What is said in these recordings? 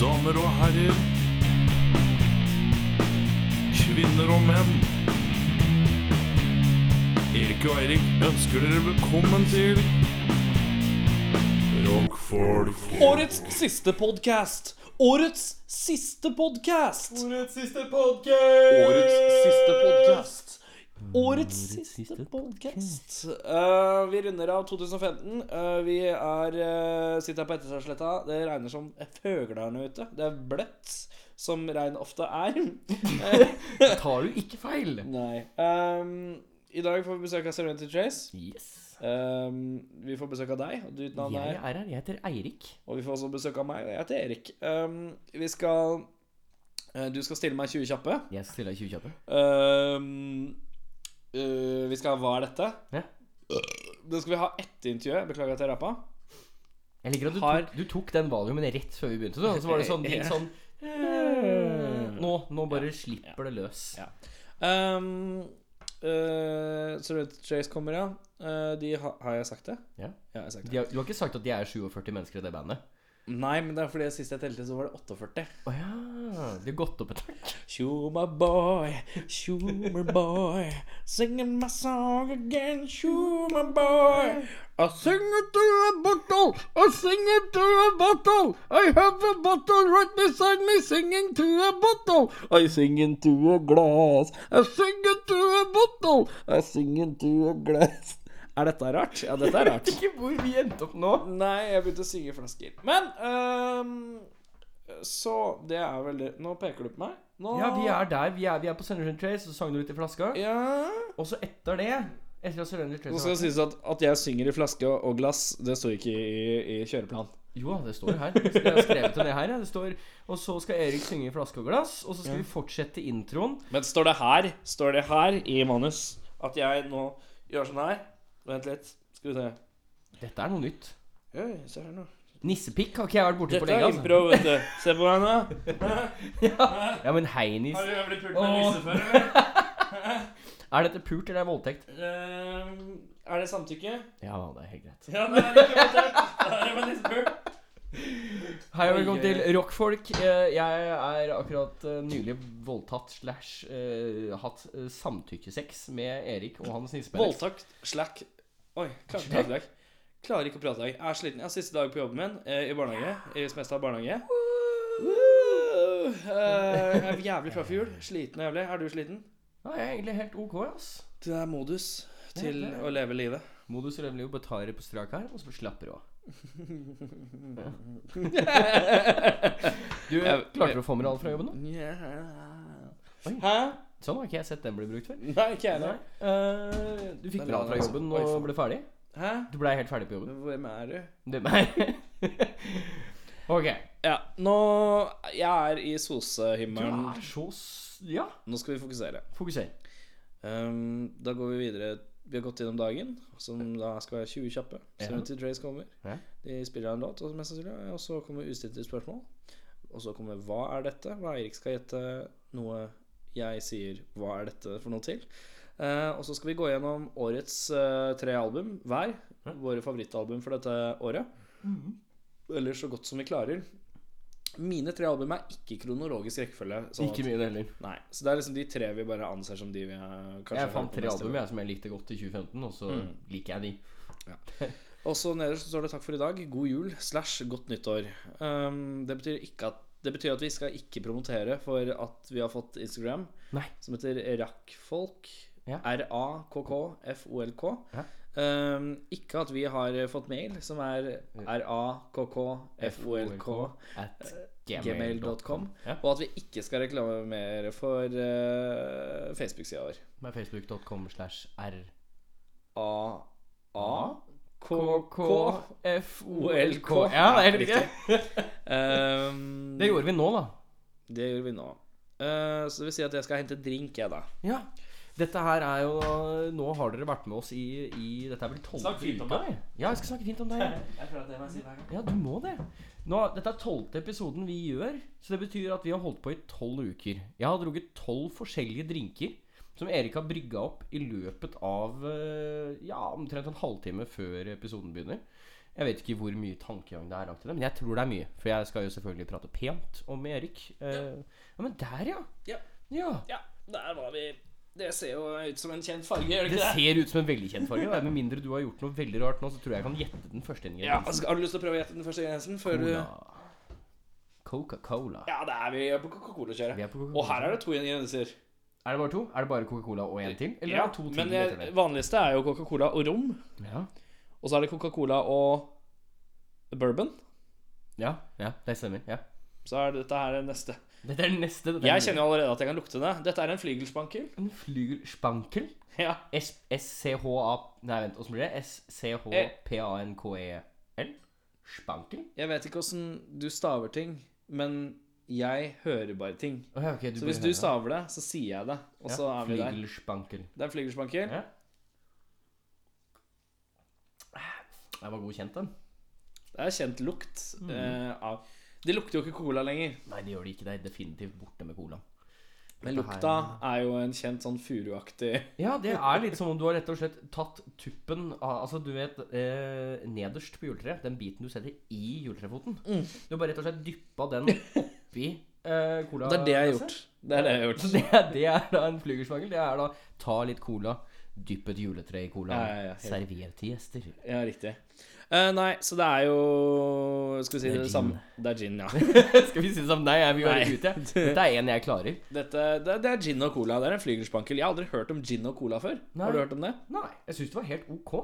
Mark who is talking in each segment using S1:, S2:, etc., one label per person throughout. S1: damer og herrer. Kvinner og menn. Erik og Eirik ønsker dere velkommen til Rockfolk.
S2: Årets siste podkast! Årets siste podkast!
S3: Årets siste podcast!
S2: Årets siste podkast. Årets siste podkast. vi runder av 2015. Eh, vi er, eh, sitter her på Etterstadsletta. Det regner som føgler her nå ute. Det er bløtt, som regn ofte er.
S3: Tar du ikke feil?
S2: Nei. ehm, I dag får vi besøk av Serenity Trace.
S3: Yes.
S2: Ehm, vi får besøk av deg. og Ditt navn
S3: Jeg
S2: er
S3: er her. Jeg heter Eirik.
S2: Og vi får også besøk av meg, og jeg heter Erik. Ehm, vi skal eh, Du skal stille meg 20 kjappe.
S3: Jeg skal stille deg 20 kjappe.
S2: Ehm, eh, vi skal ha Hva er dette?
S3: Ja.
S2: Det skal vi ha etter intervjuet. Beklager at jeg rappa.
S3: Jeg liker at du,
S2: Har-
S3: tok, du tok den valiumen rett før vi begynte. Og så var det sånn, din sånn eh, nå, nå bare slipper det løs.
S2: Ja. Um, uh, Serenity Trace kommer, ja. Eh, de ha, har jeg sagt det?
S3: Ja.
S2: Ja, jeg har sagt
S3: De
S2: det.
S3: har, du har ikke sagt at de er 47 mennesker i det bandet?
S2: Nei, men det er fordi sist jeg telte, så var det 48.
S3: Å ja. De har gått opp et tak.
S2: Schumer boy, Schumer boy, singing my song again, Schumer boy. I sing it to a bottle, I sing it to a bottle. I have a bottle right beside me, singing to a bottle. I sing into a glass, I sing into a bottle, I sing into a glass. Er dette rart? Ja, dette er rart.
S3: Ikke hvor vi endte opp nå.
S2: Nei, jeg begynte å synge flasker. Men øhm, Så det er vel det. Nå peker du på meg. Nå
S3: Ja, vi er der. Vi er, vi er på Sunderland Trace, og så sang du litt i flaska.
S2: Ja.
S3: Og så etter det Etter at Sunderland Trace
S2: Nå skal det sies at, at jeg synger i flaske og- og glass, det står ikke i, i kjøreplan.
S3: Jo, det står her. Jeg har skrevet det ned her. ja. Det står Og så skal Erik synge i flaske og glass, og så skal vi fortsette introen.
S2: Men står det her, står det her i manus at jeg nå gjør sånn her Vent litt, skal vi se.
S3: Dette er noe nytt.
S2: Oi, se her nå.
S3: Nissepikk har ikke jeg vært borti på
S2: Dette
S3: lenge.
S2: er
S3: Altså.
S2: impro, vet du. Se på meg nå.
S3: Ja, men hei, Nis.
S2: Har du blitt pult med
S3: Åh.
S2: nisse før, eller?
S3: Er dette pult eller er det voldtekt?
S2: Ehm, er det samtykke?
S3: Ja, det er helt greit.
S2: Ja, det er det. Da er det med nissepult.
S3: Hei og velkommen
S2: Oi, oi,
S3: til
S2: oi.
S3: Rockfolk. Eh, Jeg er akkurat eh, nylig voldtatt slash eh, hatt eh, samtykkesex med Erik og hans nissepikk.
S2: Voldtakt, slack Oi, klarer ikke å prate i dag. Klarer ikke å prate i dag. Jeg er sliten. Jeg har siste dag på jobben min eh, i barnehage. I Smestad barnehage. Woo! Eh, jeg er jævlig klar for jul. Sliten og jævlig. Er du sliten?
S3: Ja, jeg er egentlig helt ok, ass.
S2: Det er modus til
S3: Ja, det er-
S2: å leve livet.
S3: Modus Revnlio betaler på strak her, og så slapper du av. Du
S2: Jeg-
S3: klarte du å få med deg alt fra jobben nå? Oi.
S2: Hæ?
S3: Sånn har ikke jeg sett den bli brukt før.
S2: Nei, ikke jeg heller.
S3: Eh, du fikk
S2: Den
S3: med deg alt fra
S2: var-
S3: jobben
S2: Oi,
S3: og
S2: faen.
S3: ble ferdig?
S2: Hæ?
S3: Du blei helt ferdig på jobben?
S2: Hvem er du?
S3: Det meg. ok.
S2: Ja, nå Jeg er i
S3: Du
S2: sosehimmelen.
S3: er så s- Ja,
S2: Nå skal vi fokusere.
S3: fokuser.
S2: Ehm, da går vi videre. Vi har gått gjennom dagen, som da skal være 20 kjappe. Seventy Drays kommer.
S3: Ja.
S2: De spiller en låt, og mest sannsynlig. Og så kommer ustilte spørsmål. Og så kommer 'Hva er dette?' Hva Eirik skal gjette noe jeg sier 'Hva er dette?' for noe til. Eh, og så skal vi gå gjennom årets eh, tre album hver. Våre favorittalbum for dette året.
S3: Mhm.
S2: Eller så godt som vi klarer. Mine tre album er ikke kronologisk rekkefølge. sånn at-
S3: Ikke mye heller.
S2: Nei, så det er liksom de tre vi bare anser som de vi eh, kanskje
S3: Jeg
S2: hører
S3: fant
S2: på
S3: tre
S2: mest i
S3: album jeg, som jeg likte godt i 2015, og så liker jeg de.
S2: Og så nederst så står det 'takk for i dag', 'god jul' slash 'godt nyttår'. Um, det, betyr ikke at, det betyr at vi skal ikke promotere for at vi har fått Instagram
S3: Nei.
S2: som heter Rakkfolk.
S3: Ja.
S2: R-A-K-K-F-O-L-K.
S3: Ja.
S2: Um, ikke at vi har fått mail som er r-a-k-k-f-o-l-k.
S3: At
S2: Gmail.com.
S3: Ja.
S2: Og at vi ikke skal reklamere for eh, Facebook-sida vår.
S3: Med facebook.com slash r...
S2: A-a-k-k
S3: KKFOLK. Ja, det er helt riktig.
S2: Um,
S3: Det gjorde vi nå, da.
S2: Det gjør vi nå. Eh, så det vil si at jeg skal hente drink, jeg, da.
S3: Ja. Dette her er jo Nå har dere vært med oss i, i Dette er vel tolvte
S2: Snakk fint om
S3: uka, jeg. Ja, jeg skal snakke fint om deg.
S2: Jeg føler at det må jeg si hver gang.
S3: Ja, du må det. Nå, dette er tolvte episoden vi gjør, så det betyr at vi har holdt på i tolv uker. Jeg har drukket tolv forskjellige drinker som Erik har brygga opp i løpet av eh, ja, omtrent en halvtime før episoden begynner. Jeg vet ikke hvor mye tankegang det er bak til det, men jeg tror det er mye. For jeg skal jo selvfølgelig prate pent om Erik. Eh, ja. men der, ja.
S2: Ja.
S3: ja.
S2: Ja, der var vi. Det ser jo ut som en kjent farge, gjør det
S3: Det
S2: ikke det?
S3: ser ut som en veldig kjent farge. da. Med mindre du har gjort noe veldig rart nå, så tror jeg jeg kan gjette den første
S2: Ja,
S3: ingrediensen.
S2: altså, Har du lyst til å prøve å gjette den første grensen? Før du...
S3: Cola. Coca-Cola.
S2: Ja, det er vi er på Coca-Cola-kjøret.
S3: Vi er på Coca-Cola.
S2: Og her er det to ingredienser.
S3: Er det bare to? Er det bare Coca-Cola og en til? Eller
S2: Ja,
S3: er det to til
S2: men
S3: etter
S2: det
S3: det?
S2: vanligste er jo Coca-Cola og rom.
S3: Ja.
S2: Og så er det Coca-Cola og bourbon.
S3: ja, ja, det stemmer. Ja.
S2: Så er dette her det neste.
S3: Dette er den neste. Dette er
S2: Jeg
S3: den-
S2: kjenner jo allerede at jeg kan lukte det. Dette er en flygelspankel.
S3: En flygelspankel.
S2: Ja.
S3: S- S-C-H-A... Nei, vent, åssen blir det?
S2: Eh.
S3: S-C-H-P-A-N-K-E-L? E, Spankel?
S2: Jeg vet ikke åssen du staver ting, men jeg hører bare ting.
S3: Å ja, ok, du
S2: Så hvis du staver det, så sier jeg det. Og så er vi der.
S3: Flygelspankel.
S2: Det er en flygelspankel.
S3: Ja. Den var god kjent, den.
S2: Det er kjent lukt eh, av Det lukter jo ikke cola lenger.
S3: Nei, Mm. det gjør det ikke. Det er definitivt borte med cola.
S2: Men
S3: Dette
S2: lukta er jo en kjent sånn furuaktig
S3: Ja, det er litt som om du har rett og slett tatt tuppen av Altså, du vet, eh, nederst på juletreet, den biten du setter i juletrefoten
S2: Mm.
S3: Du har bare rett og slett dyppa den oppi eh, cola.
S2: Det er det jeg har gjort. Det er det jeg har gjort.
S3: Så det, er- det er da en flugersmangel. Det er da ta litt cola, dypp et juletre i cola,
S2: Ja, ja, ja, helt.
S3: server til gjester.
S2: Ja, riktig. Eh, nei, så det er jo Skal vi si
S3: Det
S2: det,
S3: er gin.
S2: samme Det er gin, ja.
S3: Skal vi si det sammen? Nei, jeg vil
S2: Nei.
S3: være ute. Dette er en jeg klarer.
S2: Dette, det, det er gin og cola. Det er en flygelspankel. Jeg har aldri hørt om gin og cola før.
S3: Nei.
S2: Har du hørt om det?
S3: Nei, jeg syns det var helt ok.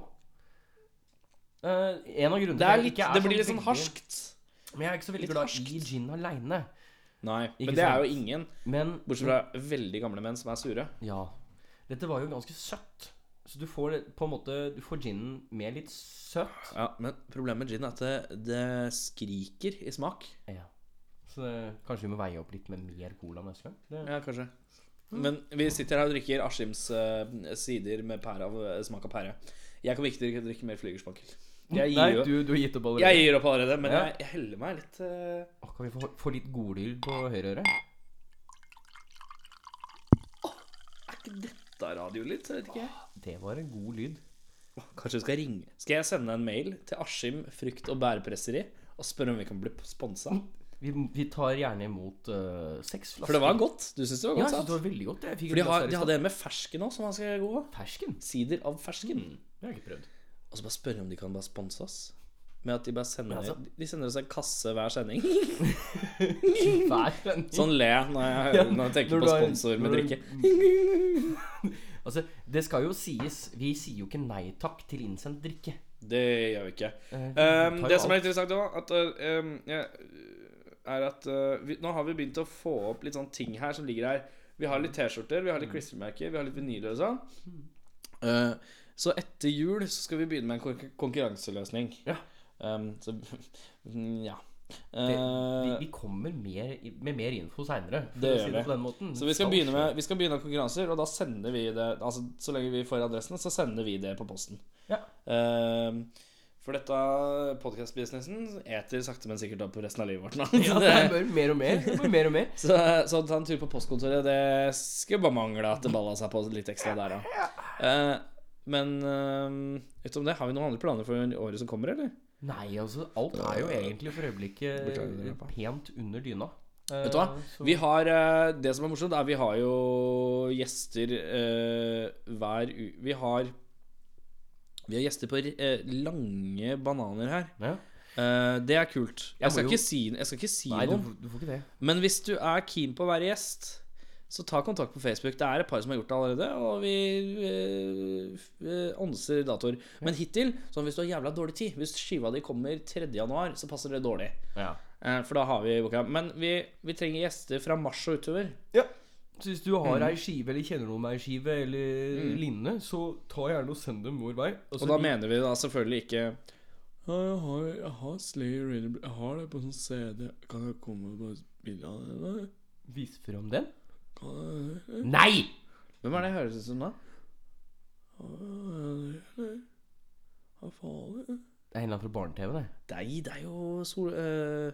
S3: Eh, en av
S2: Det,
S3: grunnene til
S2: er
S3: at jeg
S2: litt,
S3: ikke
S2: det blir litt
S3: veldig-
S2: sånn harskt.
S3: Men jeg er ikke så veldig
S2: Litt
S3: glad
S2: harskt.
S3: i gin aleine.
S2: Nei,
S3: Ikke
S2: men det er
S3: sant.
S2: jo ingen.
S3: Men
S2: Bortsett fra veldig gamle menn som er sure.
S3: Ja. Dette var jo ganske søtt. Så du får det- på en måte Du får ginen med litt søtt.
S2: Ja, Men problemet med gin er at det, det skriker i smak.
S3: Ja. Så det, kanskje vi må veie opp litt med mer cola neste gang. Det,
S2: Ja, kanskje. Men vi sitter her og drikker Askims eh, sider med pære av, eh, smak av pære. Jeg kommer ikke til å drikke mer flygerspankel. Jeg gir,
S3: Nei,
S2: jo-
S3: du, du har gitt opp allerede.
S2: jeg gir opp allerede, men
S3: Ja.
S2: jeg, jeg heller meg litt eh,
S3: Å, Kan vi få, få litt godlyd på høyre øre?
S2: Er ikke dette radiolyd? Jeg vet ikke. jeg.
S3: Det var en god lyd.
S2: Kanskje vi skal ringe? Skal jeg sende en mail til Askim frukt- og bærpresseri og spørre om vi kan bli sponsa?
S3: Vi, vi tar gjerne imot uh, seks flasker.
S2: For det var godt. Du syns det var
S3: Ja, jeg
S2: godt,
S3: synes det
S2: sant?
S3: var veldig godt. Jeg fikk
S2: For de,
S3: et glass
S2: har,
S3: her i
S2: de
S3: stad.
S2: hadde en med fersken òg, som var ganske god.
S3: Fersken.
S2: Sider av fersken.
S3: Det har jeg ikke prøvd.
S2: Og så bare spørre om de kan bare sponse oss. Med at de bare sender
S3: Ja, altså.
S2: De sender oss en kasse hver sending.
S3: Hver sending.
S2: Sånn ler jeg når jeg, hører, når jeg tenker på
S3: Når du har-
S2: sponsor med
S3: når du-
S2: drikke.
S3: Altså, det skal jo sies Vi sier jo ikke nei takk til innsendt drikke.
S2: Det gjør vi ikke.
S3: Eh,
S2: Um,
S3: tar jo
S2: det som
S3: alt.
S2: er interessant nå, at, uh, um, jeg- er at uh, vi, Nå har vi begynt å få opp litt sånn ting her som ligger her. Vi har litt T-skjorter, vi har
S3: Mm.
S2: litt klistremerker, vi har litt vinyler og sånn. Uh, så etter jul så skal vi begynne med en konkur- konkurranseløsning.
S3: Ja.
S2: Um, så mm, ja.
S3: Det, vi,
S2: Uh,
S3: vi kommer mer, i- med mer info seinere.
S2: Det gjør vi.
S3: På den måten.
S2: så vi skal, begynne med, vi skal begynne med konkurranser, og da sender vi det Altså så lenge vi får adressen, så sender vi det på posten.
S3: Ja.
S2: Ehm, for dette podkast-businessen eter sakte, men sikkert opp resten av livet vårt nå.
S3: ja,
S2: Så
S3: det
S2: det-
S3: bør mer og mer. Det bør mer og mer.
S2: Så, så å ta en tur på postkontoret, det skulle bare mangle at det balla seg på litt ekstra der òg. men ehm, utenom det, har vi noen andre planer for året som kommer, eller?
S3: Nei, altså, alt er jo egentlig for øyeblikket
S2: Beklager,
S3: eh,
S2: Rappa.
S3: pent under dyna.
S2: Vet du hva? Vi har, eh, det som er morsomt, er vi har jo gjester eh, hver u... Vi har Vi har gjester på eh, lange bananer her.
S3: ja.
S2: Eh, det er kult.
S3: Jeg må
S2: Jeg skal
S3: jo-
S2: ikke si, jeg skal ikke si
S3: Nei, du,
S2: noe.
S3: får- du får ikke det.
S2: Men hvis du er keen på å være gjest, så ta kontakt på Facebook. Det er et par som har gjort det allerede, og vi eh, f- eh, ånser datoer. Men hittil, sånn hvis du har jævla dårlig tid Hvis skiva di kommer 3. januar, så passer det dårlig.
S3: Ja.
S2: Eh, For da har vi boka. Men vi, vi trenger gjester fra mars og utover.
S3: Så hvis du har
S2: Mm.
S3: ei skive, eller kjenner noen med ei skive, eller lignende, så ta gjerne og send dem vår vei.
S2: Og
S3: så
S2: da
S3: vi-
S2: mener vi da selvfølgelig ikke ja, jeg har, jeg har Slayer Raider Jeg har det på sånn CD. Kan jeg komme og bare spille av det? eller?
S3: Vis fram den.
S2: Kan jeg-
S3: Nei!
S2: Hvem er det jeg høres ut som da? Ja, det er- Hva faen er det?
S3: Det er en eller annen fra barne-TV, det.
S2: Nei, det er jo Sol... eh,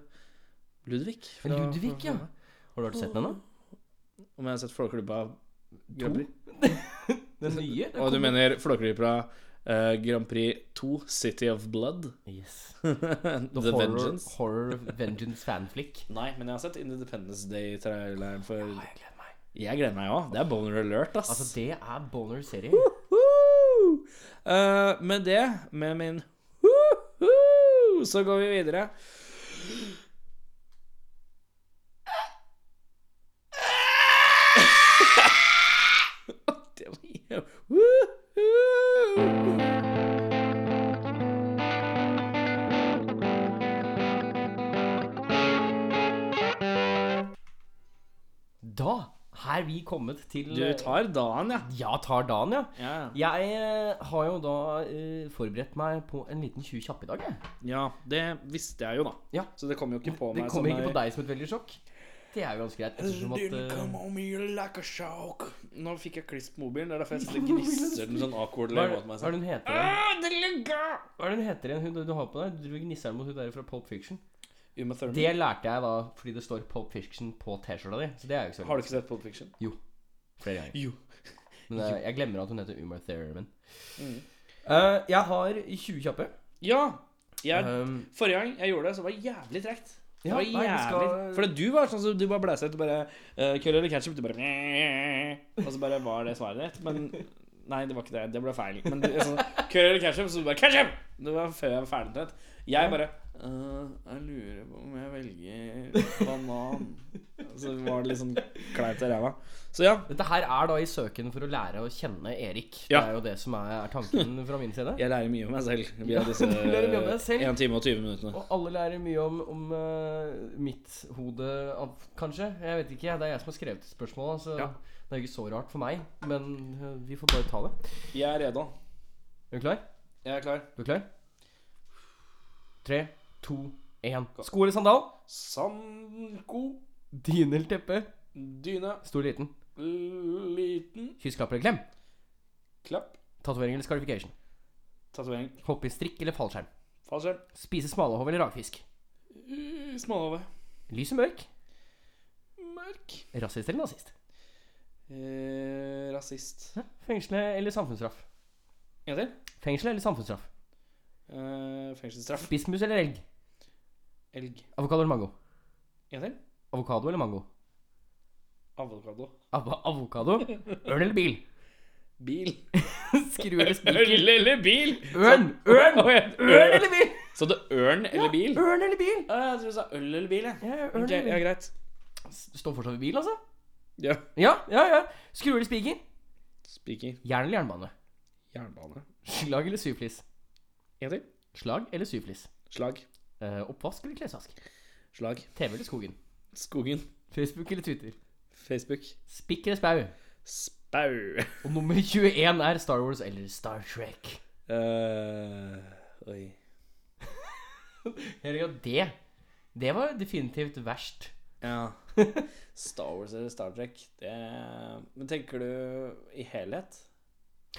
S2: Ludvig. fra-
S3: Men Ludvig, ja.
S2: fra-
S3: Har du vært sett den ennå?
S2: Om jeg har sett Flåklypa Grand Prix?
S3: Den nye? Den
S2: Og du
S3: kom-
S2: mener Flåklypa eh, eh, Grand Prix 2, City of Blood.
S3: Yes.
S2: The,
S3: horror,
S2: Vengeance.
S3: Horror Vengeance fanflick.
S2: Nei, men jeg har sett Independence Day-traileren for
S3: Å, jeg gleder meg.
S2: Jeg gleder meg òg. Det er boner alert, ass.
S3: Altså, det er boner serie.
S2: Woohoo! Eh, med det, med min woohoo, så går vi videre. Det var jo- Woohoo!
S3: Da er vi kommet til eh,
S2: Du tar dagen, ja.
S3: Ja, tar dagen, ja.
S2: Ja,
S3: Jeg eh, har jo da eh, forberedt meg på en liten 20 kjapp i dag, jeg.
S2: ja det visste jeg jo, da.
S3: Ja.
S2: Så det kom jo ikke på meg
S3: Det kommer ikke
S2: ei-
S3: på deg som et veldig sjokk. Det er jo ganske greit. Ettersom at
S2: Didn't come
S3: eh,
S2: on me like a shock. Nå fikk jeg kliss på mobilen. Det er derfor jeg sitter og gnisser den sånn awkward
S3: Hva er
S2: lenge
S3: det
S2: mot meg
S3: hva er
S2: selv.
S3: det hun heter igjen?
S2: Ah, det ligger!
S3: Hva er det hun heter igjen, hun du- du har på deg? Du driver og gnisser mot hun der fra Pulp Fiction.
S2: Uma Thurman.
S3: Det lærte jeg da fordi det står Pulp Fiction på T-skjorta di. Så det er jo ikke så
S2: Har du ikke sett Pulp Fiction?
S3: flere ganger.
S2: Jo.
S3: Men eh, jeg glemmer at hun heter Umar Thurman.
S2: Mm.
S3: Eh, jeg har 20 kjappe.
S2: Ja. Jeg,
S3: Um,
S2: forrige gang jeg gjorde det, så var det jævlig tregt. Det
S3: Ja,
S2: var
S3: nei, vi skal-
S2: jævlig Fordi du var sånn som du bare blæsa ut og bare uh, Køll eller ketsjup? Du bare Og så bare var det svaret ditt. Men Nei, det var ikke det. Det ble feil. Men du- sånn, køll eller ketsjup? Så du bare ketsjup! Det var før jeg var ferdig trent. Jeg bare «Øh, Jeg lurer på om jeg velger banan. Så var det litt sånn kleint i ræva. Så ja.
S3: dette her er da i søken for å lære å kjenne Erik.
S2: Ja.
S3: Det er jo det som er, er tanken fra min side.
S2: Jeg lærer mye om meg selv via disse
S3: du lærer mye om deg selv.
S2: 1 time og 20 minuttene.
S3: Og alle lærer mye om, om eh, mitt hode, av- kanskje. Jeg vet ikke, Det er jeg som har skrevet spørsmålet, så
S2: Ja.
S3: det er jo ikke så rart for meg. Men eh, vi får bare ta det.
S2: Jeg er reda.
S3: Er du klar?
S2: Jeg er klar.
S3: Du er klar? Tre, to, én. Sko eller sandal?
S2: Sandko,
S3: Dyne eller teppe?
S2: dyne,
S3: Stor eller liten?
S2: liten,
S3: Kyss, klapp eller klem?
S2: klapp,
S3: Tatovering eller scarification?
S2: tatovering,
S3: Hoppe i strikk eller fallskjerm?
S2: fallskjerm,
S3: Spise smalahove eller rakfisk?
S2: uh, smalhove,
S3: Lys og mørk?
S2: mørk,
S3: Rasist eller nazist?
S2: eh, rasist.
S3: Hæ? Fengsle eller samfunnsstraff?
S2: En til.
S3: Fengsel eller samfunnsstraff?
S2: Eh, fengselsstraff.
S3: Spissmus eller elg?
S2: Elg.
S3: Avokado eller mango?
S2: En til.
S3: Avokado eller mango?
S2: Avokado.
S3: Av avokado? Ørn eller bil?
S2: Bil.
S3: Skru eller spiker?
S2: Ørn eller bil?
S3: Ørn! Ørn!
S2: Oi, en
S3: Ørn
S2: ørn.
S3: eller bil?
S2: Så det er ørn eller bil?
S3: Ørn eller bil?
S2: Ah, jeg tror du sa øl eller bil, jeg.
S3: Ja, ja, ørn
S2: Ok,
S3: eller
S2: ja,
S3: bil.
S2: greit.
S3: Står fortsatt ved bil, altså?
S2: Ja.
S3: Ja, ja, ja. Skru eller spiker?
S2: Spiker.
S3: Jern eller jernbane?
S2: Jernbane.
S3: Slag eller syvflis?
S2: En til.
S3: Slag eller syvflis?
S2: Slag.
S3: Eh, oppvask eller klesvask?
S2: Slag.
S3: TV eller skogen?
S2: Skogen.
S3: Facebook eller Twitter?
S2: Facebook.
S3: Spikk eller spau?
S2: Spau.
S3: Og nummer 21 er Star Wars eller Star Trek.
S2: Eh, oi.
S3: Herregud, det Det var definitivt verst.
S2: Ja. Star Wars eller Star Trek det... Men tenker du i helhet?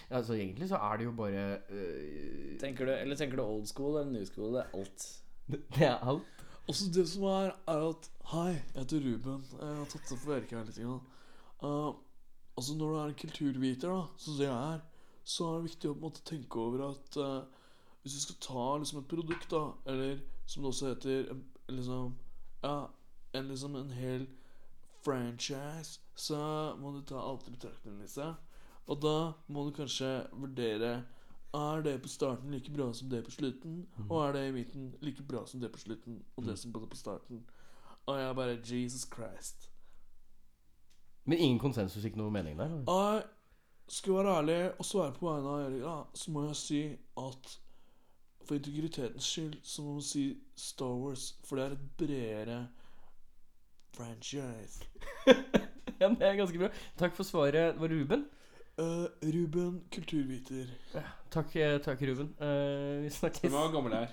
S3: Altså, Egentlig så er det jo bare øh,
S2: Tenker du, eller tenker du old school eller new school? Det er alt.
S3: Det er alt.
S1: Også det som er, er at Hei, jeg heter Ruben. eh, Jeg har tatt det for Erik her litt. Grann. Eh, altså Når du er en kulturviter, da, sånn som jeg er, så er det viktig å på en måte tenke over at eh, hvis du skal ta liksom et produkt, da, eller som det også heter, eh, liksom Ja, en, liksom en hel franchise, så må du ta alt i betraktning, liksom. Og da må du kanskje vurdere er det på starten like bra som det på slutten? Og er det i midten like bra som det på slutten og det som på på starten? Og jeg bare Jesus Christ.
S3: Men ingen konsensus, ikke noe mening der?
S1: Jeg skal være ærlig og svare på vegne av Erik, da, så må jeg si at for integritetens skyld så må man si Star Wars, for det er et bredere franchise.
S3: Ja, men det er ganske bra. Takk for svaret, var det Ruben?
S1: Eh, Ruben kulturviter.
S3: Takk, eh, takk Ruben. Eh, vi snakkes.
S2: Hvor gammel er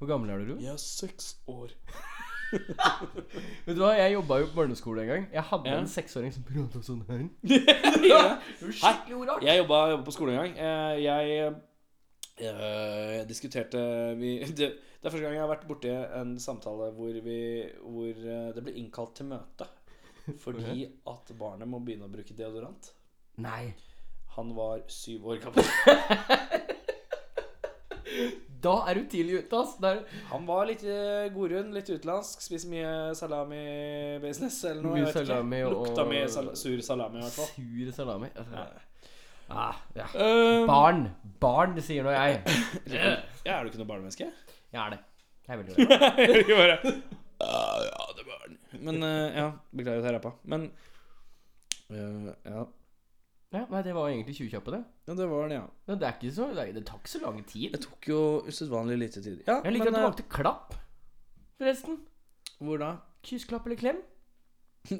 S3: Hvor gammel er du, Ruben?
S1: Jeg er seks år.
S3: Vet du hva, Jeg jobba jo på barneskole en gang. Jeg hadde
S2: Ja.
S3: en seksåring som prata sånn her. Det var
S2: Hei,
S3: Skikkelig orart.
S2: Jeg jobba, jobba på skole en gang. Eh, Jeg eh, jeg diskuterte vi, det, det er første gang jeg har vært borti en samtale hvor, vi, hvor eh, det ble innkalt til møte fordi at barnet må begynne å bruke deodorant.
S3: Nei.
S2: Han var syv år gammel.
S3: Da er du tidlig ute, ass. Det er
S2: Han var litt eh, godrund, litt utenlandsk. Spiser mye salami-business eller noe.
S3: Mye
S2: jeg vet ikke.
S3: salami og-
S2: Lukta mye sal sur salami, i hvert fall.
S3: sur salami. Altså, Ah, ja.
S2: Um,
S3: Barn. Barn, det sier nå jeg.
S2: eh, ja, er du ikke noe barnemenneske?
S3: Jeg er det. Jeg er veldig redd.
S2: Ikke bare «Ah, Ja, det var den. Men eh, ja, beklager at jeg rappa. Men eh, ja.
S3: Ja, nei, det var egentlig 20 kjappe, det.
S2: ja, det var den, ja.
S3: Men det er ikke så Det, er- det tar ikke så lang tid.
S2: Det tok jo usedvanlig lite tid. Ja,
S3: Jeg liker
S2: men,
S3: at du
S2: eh,
S3: valgte klapp, forresten.
S2: Hvor da?
S3: Kyss, klapp eller klem?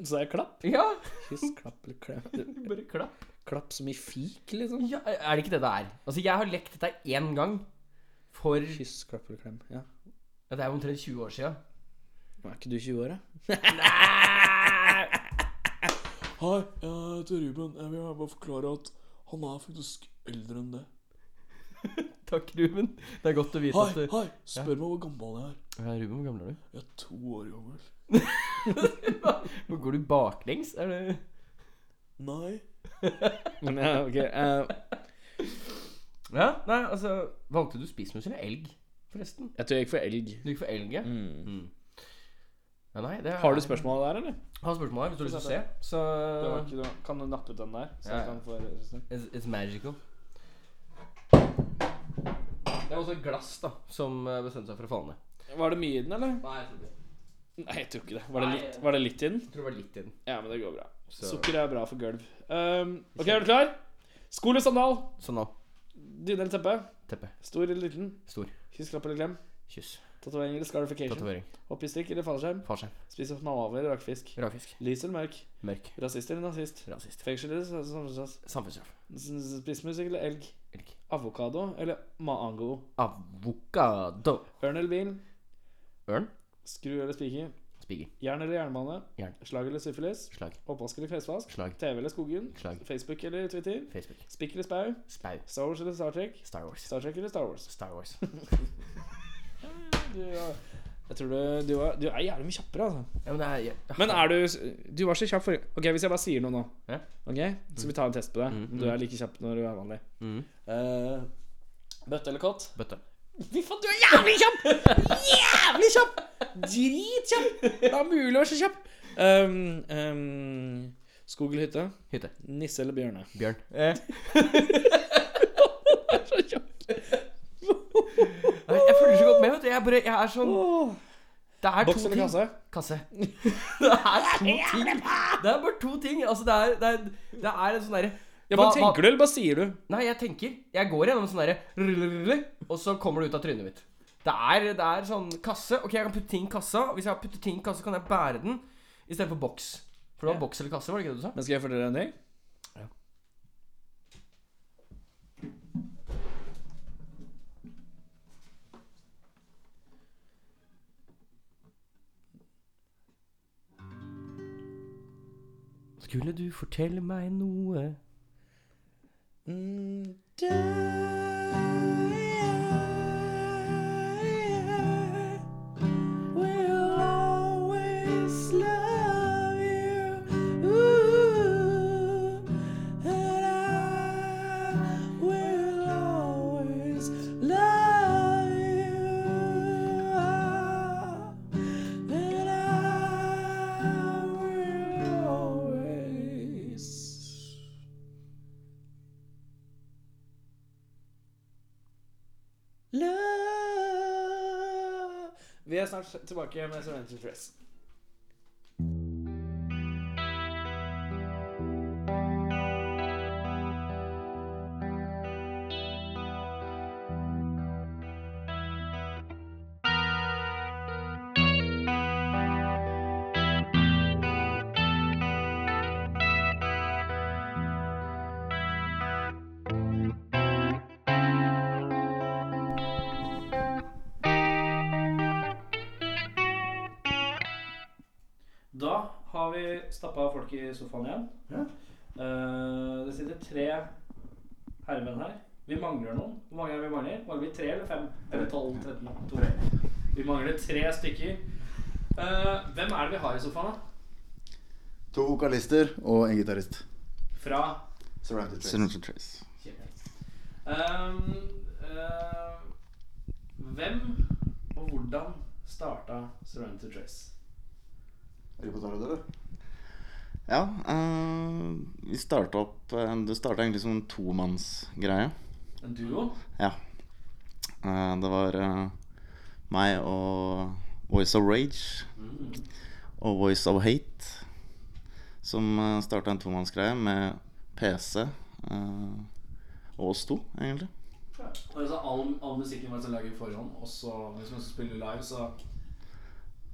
S2: Sa jeg klapp?
S3: Ja.
S2: Kyss, klapp eller klem?
S3: Bare klapp.
S2: Klapp som i fik, liksom?
S3: Ja, er det ikke det det er? Altså, jeg har lekt dette én gang for ja,
S2: Kyss, klapp eller klem. Ja.
S3: Det er jo omtrent 20 år sia.
S2: Er ikke du 20 år, da?
S1: Hei, jeg heter Ruben. Jeg vil bare forklare at han er faktisk eldre enn det.
S3: Takk, Ruben. Det er godt å vite
S1: Hei,
S3: at du
S1: hei! Spør meg hvor gammel jeg er.
S3: ja, Ruben, hvor gammel er du?
S1: Jeg er to år gammel.
S3: Hvor Går du baklengs? Er det
S1: Nei.
S2: Men ja, ok. eh,
S3: Ja, nei, altså Valgte du spissmus eller elg, forresten?
S2: jeg tror jeg gikk for elg.
S3: Du gikk for elg, ja? Mm. ja nei, det er,
S2: Har du spørsmål der, eller?
S3: Har spørsmål her, hvis du har lyst til å se. Så
S2: kan du nappe ut den der?
S3: jeg Ja, ja. kan It's, it's magical. Det er også et glass da som eh, bestemte seg for å falle ned.
S2: Var det mye i den, eller?
S3: Nei, jeg tror ikke det.
S2: Nei, jeg tror ikke det. Var det
S3: Nei.
S2: litt, var det litt i den?
S3: Jeg tror det var litt i den.
S2: Ja, men det går bra.
S3: Så-
S2: Sukker er bra for gulv. Um, ok, er du klar? Sko eller sandal?
S3: Sånn nå.
S2: Dyne eller teppe?
S3: Teppe.
S2: Stor eller liten?
S3: Stor.
S2: Kyss, klapp eller klem?
S3: Kyss.
S2: Tatovering eller scarification?
S3: Tatovering.
S2: Hopp i strikk eller fallskjerm?
S3: Fallskjerm.
S2: Spise manaver eller rakfisk?
S3: Ravfisk.
S2: Lys eller mørk?
S3: Mørk.
S2: Rasist eller nazist?
S3: Rasist.
S2: Fengsel eller sam- samfunnsstraff?
S3: Samfunnsstraff.
S2: Spissmusikk eller elg?
S3: Elg.
S2: Avokado eller mango?
S3: Avokado.
S2: Ørn eller bil?
S3: Ørn.
S2: Skru eller spiker?
S3: Spiker.
S2: Jern eller jernbane?
S3: Jern.
S2: Slag eller syfilis?
S3: Slag.
S2: Oppvask eller klesvask?
S3: Slag.
S2: TV eller skogen?
S3: Slag.
S2: Facebook eller Twitter?
S3: Facebook.
S2: Spikk eller spau?
S3: Spau.
S2: Star Wars eller Star Trek?
S3: Star Wars.
S2: Star Trek eller Star Wars?
S3: Star Wars.
S2: Du, var- jeg tror du, du, var, du er jævlig mye kjappere, altså.
S3: Ja, men det er jeg-
S2: Men er du Du var så kjapp forrige Ok, hvis jeg bare sier noe nå,
S3: Ja.
S2: Ok, så vi tar en test på deg.
S3: Mm,
S2: Om du er like kjapp når du er vanlig.
S3: Mm.
S2: Eh, bøtte eller kott?
S3: Bøtte.
S2: Fy faen, du er jævlig kjapp! Jævlig kjapp! Dritkjapp! Det er mulig å være så kjapp. Um, um, skog eller hytte?
S3: Hytte.
S2: Nisse eller bjørne?
S3: Bjørn.
S2: Så kjapp.
S3: Jeg, jeg følger så godt med, vet du. Jeg, bare, jeg er sånn
S2: Åh.
S3: Det er
S2: Boks
S3: to
S2: eller
S3: ting.
S2: kasse?
S3: Kasse. Det er to ting. Det er bare to ting. Altså, det er, det er, det er en sånn derre
S2: Ja,
S3: hva-
S2: men
S3: hva-
S2: Tenker du, eller bare sier du?
S3: Nei, jeg tenker. Jeg går gjennom sånn derre Og så kommer det ut av trynet mitt. Det er, det er sånn kasse. Ok, jeg kan putte ting i kassa. Hvis jeg har puttet ting i kassa, kan jeg bære den istedenfor boks. For det var boks eller kasse, var det ikke det du sa?
S2: Men skal jeg fortelle deg en ting?
S3: Ja. Skulle du fortelle meg noe?
S2: Mm, I will always love you. Ooh, and I will always love you. Ah, and I will always Love. Vi er snart tilbake med Serenity Dress. Da har vi stappa folk i sofaen igjen. Eh, det sitter tre herremenn her. Vi mangler noen. Hvor mange er vi mangler? Mangler vi tre eller fem? Eller tolv? 13? To. Vi mangler tre stykker. Eh, hvem er det vi har i sofaen, da?
S4: To vokalister og en gitarist.
S2: Fra
S4: Surrounded Trace.
S2: Kjempe. Um, eh, Hvem og hvordan starta Serenity Trace?
S4: Er du på tallet, eller? Ja. eh, vi starta opp eh, Det starta egentlig som en tomannsgreie.
S2: En duo?
S4: Ja. Eh, det var eh, meg og Voice of Rage
S2: Mm.
S4: og Voice of Hate som uh, starta en tomannsgreie med PC eh, og oss to, egentlig.
S2: Og altså, all, all musikken var altså laget forhånd, og så hvis man spiller live, så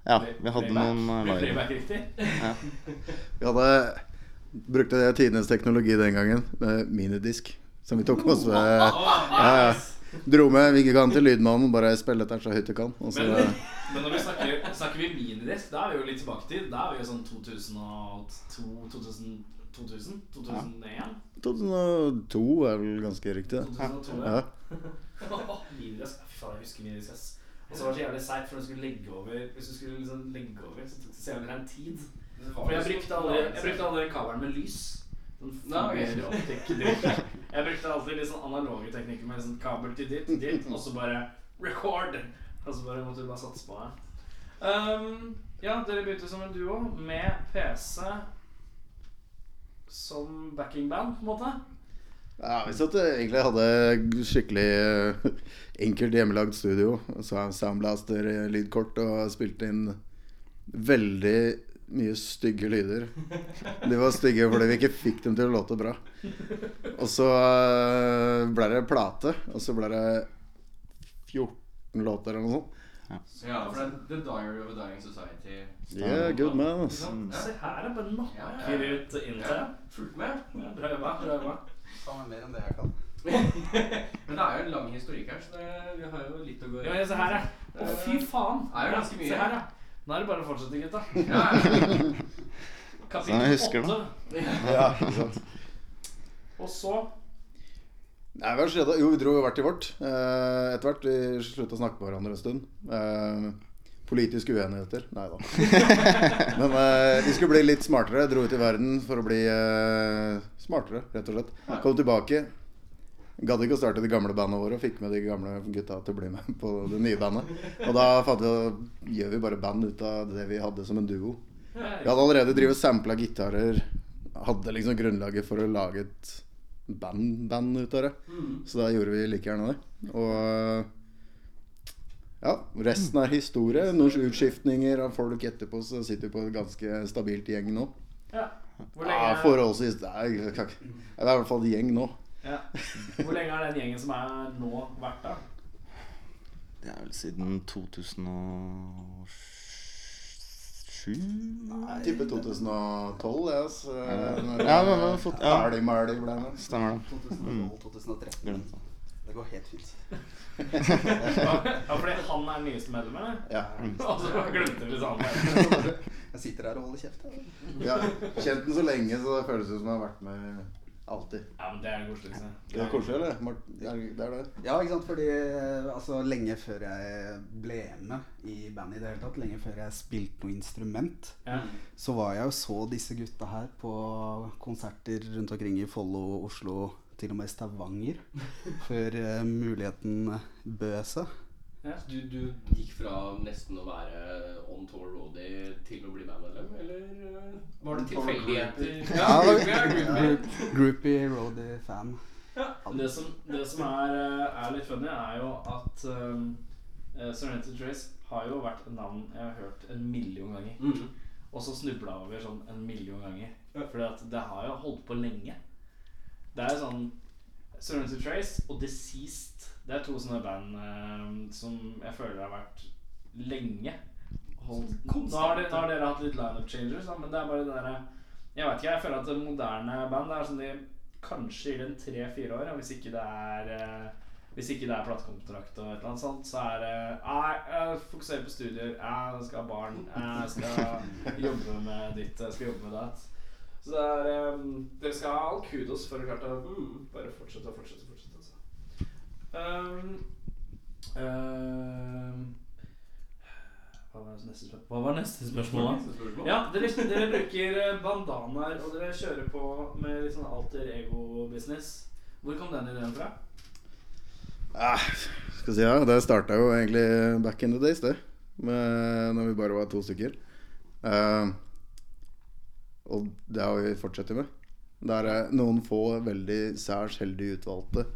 S4: Ja, vi hadde noen eh,
S2: Blir
S4: live.
S2: playback riktig?
S4: Vi hadde brukte det tidenes teknologi den gangen. eh, Minidisk. Som vi tok med oss. eh, ja, ja. Dro med vi gikk an til lydmannen, bare spille dette så høyt du kan. Og så,
S2: Men,
S4: eh,
S2: men når vi snakker, snakker vi minidisk, da er vi jo litt tilbake til Da er vi jo sånn 2002 2000, 2000 2001?
S4: 2002 er vel ganske riktig, det.
S2: 2002,
S4: Ja.
S2: Minidisk, fy faen, jeg husker minidisk, ass. Og så var det så jævlig seigt, for når du skulle legge over, hvis du skulle liksom legge over, så tok det så jævlig lang tid. For jeg brukte aldri, jeg brukte aldri kabelen med lys. Sånn
S3: ok.
S2: fiberoptikk-dritt. Jeg brukte alltid litt sånn analoge teknikker med sånn kabel til ditt, ditt, og så bare record. Og så bare måtte du bare satse på det. Um, ja, dere begynte som en duo med PC som backingband, på en måte.
S4: Ja, Hvis at du egentlig hadde skikkelig eh, enkelt hjemmelagd studio, så hadde soundblaster, eh, lydkort og spilte inn veldig mye stygge lyder. De var stygge fordi vi ikke fikk dem til å låte bra. Og så eh, ble det plate, og så ble det 14 låter eller noe sånt.
S5: Ja, for det er The Diary of a Dying Society.
S4: Yeah, good man.
S2: Ikke
S4: ass.
S2: sant? Se her, jeg bare
S5: Ja,
S2: nakker
S5: ja.
S2: ut intro.
S5: Fulgt med.
S2: Ja, Bra jobba. bra jobba.
S5: Faen meg mer enn det jeg kan. Men det er jo en lang historikk her, så det, vi har jo litt å gå i.
S2: Ja, men se her, ja. Å, fy faen.
S5: Det er jo ganske mye.
S2: Se her, ja. Nå er det bare å fortsette, gutta.
S5: Ja, ja.
S2: Kapittel
S4: Sånn, jeg husker
S2: åtte.
S4: Ja, ikke sant.
S2: Og så
S4: Nei, hva skjedde? Jo, vi dro jo hvert til vårt. Eh, Etter hvert vi slutta å snakke med hverandre en stund. Eh, Politiske uenigheter? Nei da. Men eh, vi skulle bli litt smartere. Dro ut i verden for å bli eh, smartere, rett og slett. Kom tilbake. Gadd ikke å starte de gamle bandene våre og fikk med de gamle gutta til å bli med på det nye bandet. Og da fant vi ut gjør vi bare band ut av det vi hadde som en duo. Vi hadde allerede drevet sampla gitarer. Hadde liksom grunnlaget for å lage et band-band ut av det.
S6: Mm.
S4: Så da gjorde vi like gjerne det. Og ja, resten er historie. Noen utskiftninger av folk etterpå, så sitter vi på et ganske stabilt gjeng nå.
S2: ja. Hvor
S4: Ja,
S2: lenge,
S4: forholdsvis Nei, jeg kan ikke- det er i hvert fall et gjeng nå.
S2: ja. Hvor lenge har den gjengen som er nå, vært da?
S6: Det er vel siden 2007?
S4: Tipper 2012, jeg, altså.
S6: Ja, men vi har fått- ja.
S4: Ferdig-mæli ble med.
S6: Stemmer det.
S7: 2012-2013. Mm. Det går helt fint.
S2: Ja, fordi han er den nyeste medlemmet, eller?
S4: Ja.
S2: Og så glemte vi liksom han.
S7: Jeg sitter her og holder kjeft. jeg.
S4: ja. Kjent den så lenge, så det føles ut som jeg har vært med alltid.
S2: Ja, men det er det koseligste.
S4: Det er koselig, eller? Mart- ja, Det er det.
S7: Ja, ikke sant? Fordi eh, altså, lenge før jeg ble med i bandet i det hele tatt, lenge før jeg spilte noe instrument,
S2: Ja.
S7: så var jeg og så disse gutta her på konserter rundt omkring i Follo, Oslo, til og med Stavanger, før eh, muligheten bød seg.
S3: Du, du gikk fra nesten å være on tour roadie til å bli bandmedlem, eller eh, var det tilfeldigheter? Ja, vi er groupie.
S7: Groupie roadie fan.
S2: Det som, det som er, eh, er litt funny, er jo at um, Serenity Trace har jo vært et navn jeg har hørt en million ganger.
S3: Mhm.
S2: Og så snubla jeg over sånn en million ganger. Fordi at det har jo holdt på lenge. Det er jo sånn Serenity Trace og Deceased Det er to sånne band eh, som jeg føler har vært lenge. Holdt. Nå har, de, nå har dere hatt litt lineup changers, da, men det er bare det derre Jeg vet ikke, jeg føler at det moderne band det er sånn de kanskje gir det en tre-fire år. og Hvis ikke det er eh, Hvis ikke det er platekontrakt og et eller annet sånt, så er det Nei, jeg fokuserer på studier. Jeg skal ha barn. Jeg skal jobbe med ditt. Jeg skal jobbe med datt. Så det er eh, Dere skal ha all kudos for å klart å mm, bare fortsette og fortsette og fortsette. Altså. Um, um, hva var neste spørsmål? Hva var neste spørsmål, da?
S5: Spørsmål?
S2: Ja, dere, dere bruker eh, bandanaer, og dere kjører på med litt sånn alter ego-business. Hvor kom den ideen fra?
S4: Ah, Skal si, ja, Det starta jo egentlig back in the days, det. Med, når vi bare var to stykker. Eh, og det har vi fortsatt med. Det er eh, noen få veldig særs heldig utvalgte.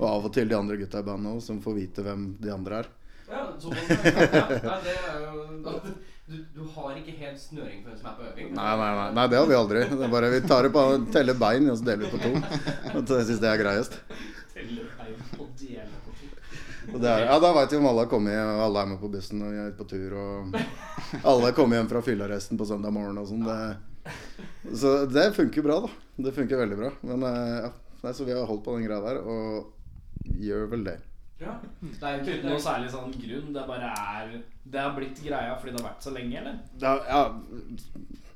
S4: Og av og til de andre gutta i bandet også, som får vite hvem de andre er.
S3: Ja, så, sånn, ja, nei, det er jo du, du har ikke helt snøring på hvem som er på øving.
S4: Nei, nei, nei, nei, det har vi aldri. Det er bare Vi tar det på teller bein og så deler vi på to. Og så Jeg syns det er greiest.
S2: Teller feil på dele på to.
S4: Og det er, ja, Da veit vi om alle har kommet, og alle er med på bussen og vi er ute på tur. Og alle er kommet hjem fra fyllearresten på søndag morgen og sånn. Det, så det funker bra, da. Det funker veldig bra. Men eh, ja, nei, Så vi har holdt på den greia der, og gjør vel det.
S3: Ja, det er jo
S2: Uten noe særlig sånn grunn. Det bare er Det har blitt greia fordi det har vært så lenge, eller?
S4: Det er- ja,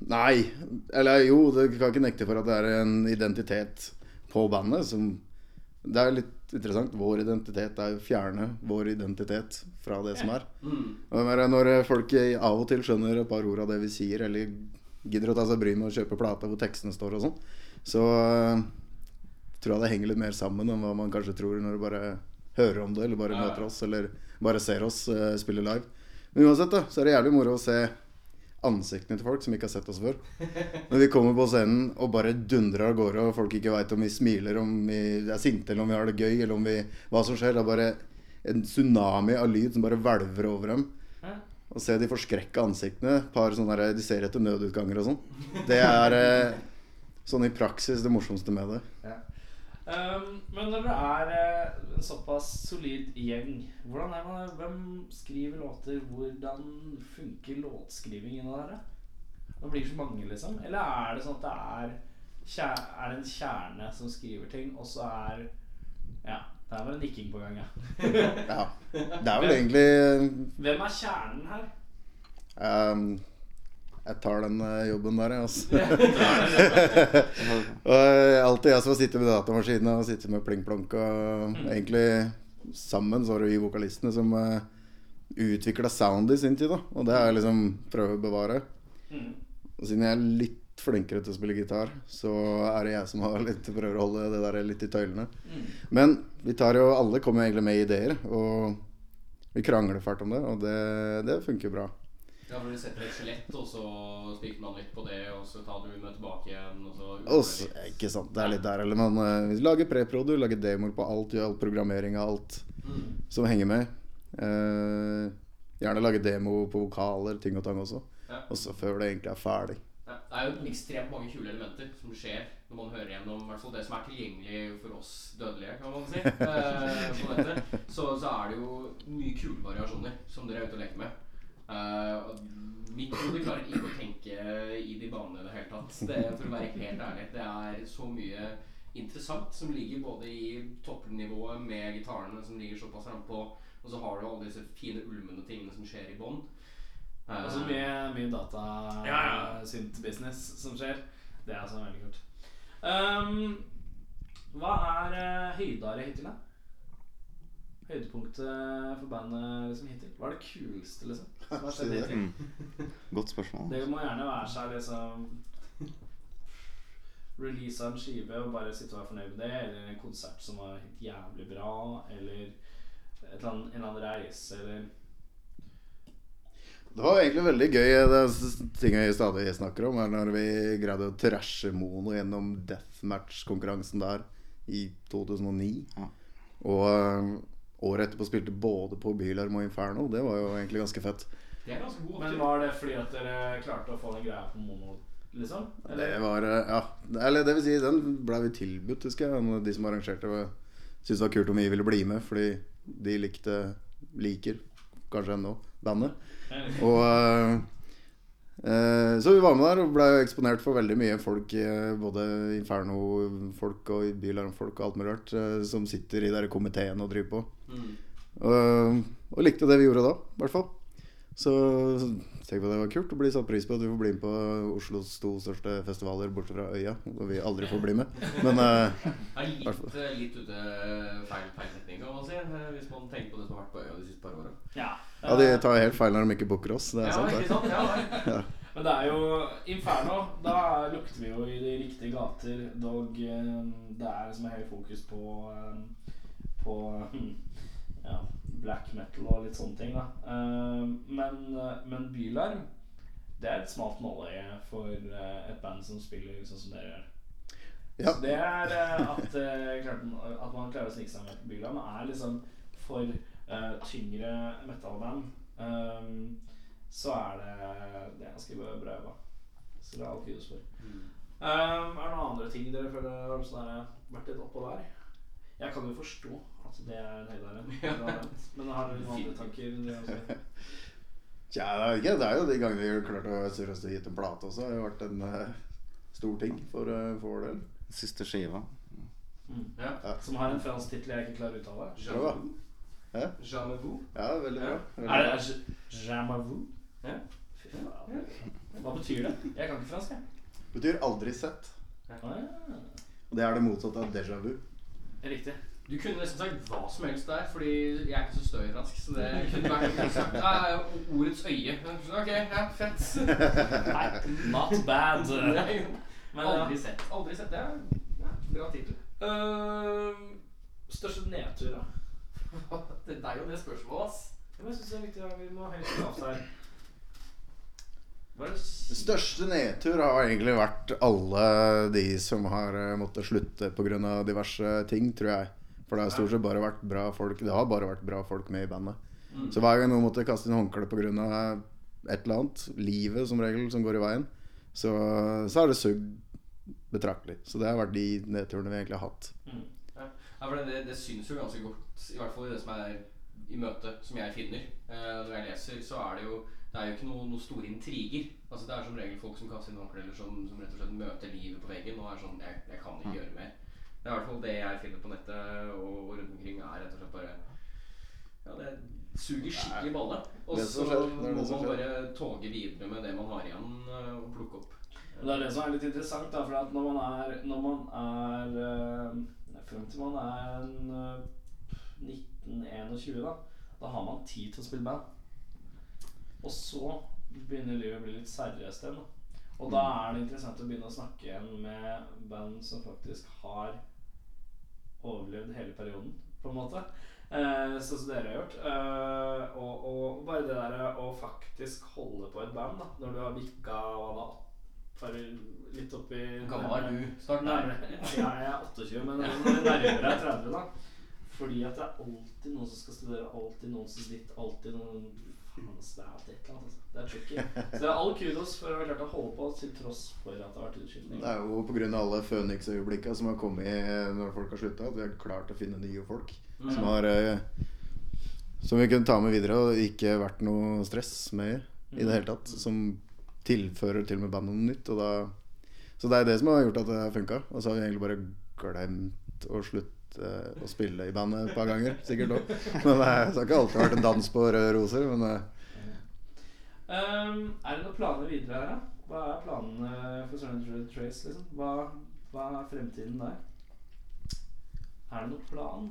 S4: nei. Eller jo, du kan ikke nekte for at det er en identitet på bandet som Det er litt interessant. Vår identitet er å fjerne vår identitet fra det som er.
S3: Mm.
S4: Og jeg mener, når folk av og til skjønner et par ord av det vi sier, eller gidder å ta seg bryet med å kjøpe plata hvor tekstene står og sånn, så øh, tror jeg det henger litt mer sammen enn hva man kanskje tror når du bare hører om det, eller bare møter oss, eller bare ser oss øh, spille live. Men uansett, da, så er det jævlig moro å se ansiktene til folk som ikke har sett oss før. Når vi kommer på scenen og bare dundrer av gårde, og folk ikke veit om vi smiler, om vi er sinte, eller om vi har det gøy, eller om vi Hva som skjer. Det er bare en tsunami av lyd som bare hvelver over dem. Å se de forskrekka ansiktene, par sånne der, de ser etter nødutganger og sånn, det er eh, sånn i praksis det morsomste med det.
S2: Um, men når dere er eh, en såpass solid gjeng, hvordan er man, hvem skriver låter? Hvordan funker låtskrivingen av dere? Nå blir det så mange, liksom. Eller er det sånn at det er, kjer- er det en kjerne som skriver ting, og så er Ja, der var en nikking på gang, ja.
S4: Ja. Det er vel egentlig
S2: Hvem er kjernen her?
S4: Ehm, jeg tar den eh, jobben der, jeg, altså. og eh, alltid jeg som har sittet med datamaskinen og sittet med plingplonk. Og egentlig sammen så var det vi vokalistene som uh, utvikla sound i sin tid, da. Og det har jeg liksom prøvd å bevare.
S2: Mm.
S4: Og siden jeg er litt flinkere til å spille gitar, så er det jeg som har litt prøver å holde det der litt i tøylene.
S2: Mm.
S4: Men vi tar jo alle kommer egentlig med ideer, og vi krangler fælt om det, og det, det funker bra.
S3: Ja, for du setter et skjelett, og så spiker man litt på det, og så tar du med tilbake igjen, og så
S4: Og så- ikke sant, det er litt der eller men eh, vi lager preprodo, lager demoer på alt, gjør all programmering av alt som henger med. Eh, gjerne lage demo på vokaler, ting og tang også.
S3: Ja.
S4: Og så før det egentlig er ferdig.
S3: Ja, Det er jo ekstremt mange kule elementer som skjer når man hører gjennom i hvert fall det som er tilgjengelig for oss dødelige, kan man si. eh, på nettet. Så, så er det jo mye kule variasjoner som dere er ute og leker med. Eh, og mitt hode klarer ikke å tenke i de banene i det hele tatt. Det, for å være helt ærlig. Det er så mye interessant som ligger både i toppnivået med gitarene som ligger såpass frampå, og så har du alle disse fine ulmende tingene som skjer i bånn. Eh,
S2: Altså mye, mye data
S3: Ja, ja.
S2: Synt-business som skjer. Det er altså veldig kult. Ehm, hva er eh, høydare hittil, da? Høydepunktet for bandet liksom, hittil? Hva er det kuleste, liksom? Som har skjedd hittil?
S8: Mm. Godt spørsmål.
S2: Det må gjerne være seg liksom Release av en skive og bare sitte og være fornøyd med det, eller en konsert som var helt jævlig bra, eller et eller annet, en eller annen reise, eller
S4: Det var egentlig veldig gøy. Det er s- ting jeg stadig snakker om, er når vi greide å thrashe Mono gjennom deathmatch-konkurransen der i 2009.
S8: Ja.
S4: Og eh, året etterpå spilte både på Bylarm og Inferno. Det var jo egentlig ganske fett.
S3: Det er ganske god
S2: Men
S3: opptur.
S2: var det fordi at dere klarte å få den greia på mono, liksom? Eller?
S4: Det var eh, Ja. Eller det vil si, den ble vi tilbudt, husker jeg. og De som arrangerte, var- syntes det var kult om vi ville bli med, fordi de likte Liker kanskje ennå bandet. Og eh, eh, Så vi var med der og ble eksponert for veldig mye folk, eh, både Inferno-folk og Bylarm-folk og alt mulig rart, eh, som sitter i de der komiteene og driver på.
S3: Eh, mm.
S4: Og, og likte det vi gjorde da, i hvert fall. Så tenkte vi det var kult å bli satt pris på at vi får bli med på Oslos to største festivaler borte fra øya. Hvor vi aldri får bli med. Men eh,
S3: Det er
S4: Hvertfall.
S3: litt, litt ute eh, feil, feil setning, kan man si. eh, Hvis man tenker på det som har vært på øya de siste par åra.
S2: Ja.
S4: ja, de tar helt feil når de ikke booker oss. Det er sant,
S3: ikke
S4: det.
S3: sant? Ja, nei.
S2: Eh, Men det er jo Inferno. Da lukter vi jo i de riktige gater. Dog eh, det er liksom høy fokus på eh, På hm, ja, black metal og litt sånne ting. da Eh, Men, eh, men Bylarm det er et smalt nåløye for eh, et band som spiller sånn som dere gjør.
S4: Ja.
S2: Så det er eh, at, eh, klart, at man klarer å snike seg med på Bylarm, er liksom for eh, tyngre metalband eh, så er det, det er ganske bra bra jobba. Så det er alt kudos for. Um, er det noen andre ting dere føler har sånn der, vært litt oppå der? Jeg kan jo forstå at det er høydere. Men har dere noen andre tanker? dere også?
S4: Tja, jeg vet ikke. Det er jo de gangene vi har klart å seriøst gitt en plate også. Det har jo vært en eh, stor ting for, eh, for vår del.
S6: Siste skiva.
S3: Ja.
S2: Som har en fransk tittel jeg ikke klarer å uttale.
S4: Bra.
S3: Jamavou.
S4: Hæ?
S3: Jamavou.
S4: Ja, veldig bra.
S3: Ja.
S4: Veldig
S2: Er
S4: bra.
S2: det J- Jamavou?
S3: Ja.
S2: Fy faen. Hva betyr det? Jeg kan ikke fransk, jeg.
S4: Betyr aldri sett.
S2: Ah,
S4: Og det er det motsatte av déjà vu.
S2: riktig.
S3: Du kunne nesten sagt hva som helst der, fordi jeg er ikke så støyransk. Så det kunne vært sagt, ja, ordets øye. Så, Ok, ja, fett.
S2: Nei, not bad. Men,
S3: Nei,
S2: ja.
S3: aldri sett. Aldri sett. Det er ja, bra tittel.
S2: Øhm, Ehm, største nedtur, da?
S3: Det er deg og det spørsmålet, ass.
S2: Ja, men Jeg synes det er viktig at vi må ha høyt lavt her. Hva er det s-
S4: Største nedtur har egentlig vært alle de som har eh, måttet slutte pga. diverse ting, tror jeg. For det har stort sett bare vært bra folk Det har bare vært bra folk med i bandet. Så hver gang noen måtte kaste inn håndkle pga. et eller annet, livet som regel, som går i veien, så, så har det sugd betraktelig. Så det har vært de nedturene vi egentlig har hatt.
S3: Ja, for det, det, det syns jo ganske godt, i hvert fall i det som er i møte, som jeg finner. Eh, når jeg leser, så er det jo Det er jo ikke noen noe store intriger. Altså Det er som regel folk som kaster inn håndkle, eller som, som rett og slett møter livet på veggen og er sånn jeg, 'Jeg kan ikke gjøre mer'. Det er i hvert fall det jeg finner på nettet og, og rundt omkring, er rett og slett bare Ja, det suger skikkelig balle. Og
S4: Det
S3: så
S4: som skjer, det er
S3: må
S4: det som
S3: man
S4: skjer.
S3: bare toge videre med det man har igjen, eh, og plukke opp.
S2: Og Det er det som er litt interessant, da, for at når man er, når man er øh, Frem til man er en, øh, 1921, da, da har man tid til å spille band. Og så begynner livet å bli litt seriøst igjen. da. Og da
S3: Mm.
S2: er det interessant å begynne å snakke igjen med band som faktisk har overlevd hele perioden, på en måte. Eh, sånn som dere har gjort. Eh, og, og bare det der eh, å faktisk holde på et band da, når du har vikka hva da, bare litt oppi
S3: Hvor gammel er du? Start der.
S2: Nærmere. Ja, jeg er 28, men nærmere er 30, da. Fordi at det er alltid noen som skal studere, alltid noen som sitter, alltid noen Faen, ass, det er alltid et eller annet. Altså. Det er tricky. Så det er all kudos for å ha klart å holde på til tross for at det har vært utskiftning.
S4: Det er jo pga. alle Phoenix-øyeblikka som har kommet når folk har slutta, at vi har klart å finne nye folk
S2: Mm.
S4: som har eh, Som vi kunne ta med videre, og ikke vært noe stress med i det hele tatt. Som tilfører til og med bandet noe nytt. Og da, så det er det som har gjort at det har funka. Og så har vi egentlig bare glemt å slutte eh, å spille i bandet et par ganger. Sikkert òg. Men det har ikke alltid vært en dans på røde roser. Men eh,
S2: Ehm, er det noen planer videre her, da? Hva er planene for Surrender Trace? Liksom? Hva, hva er fremtiden der? Er det noen plan?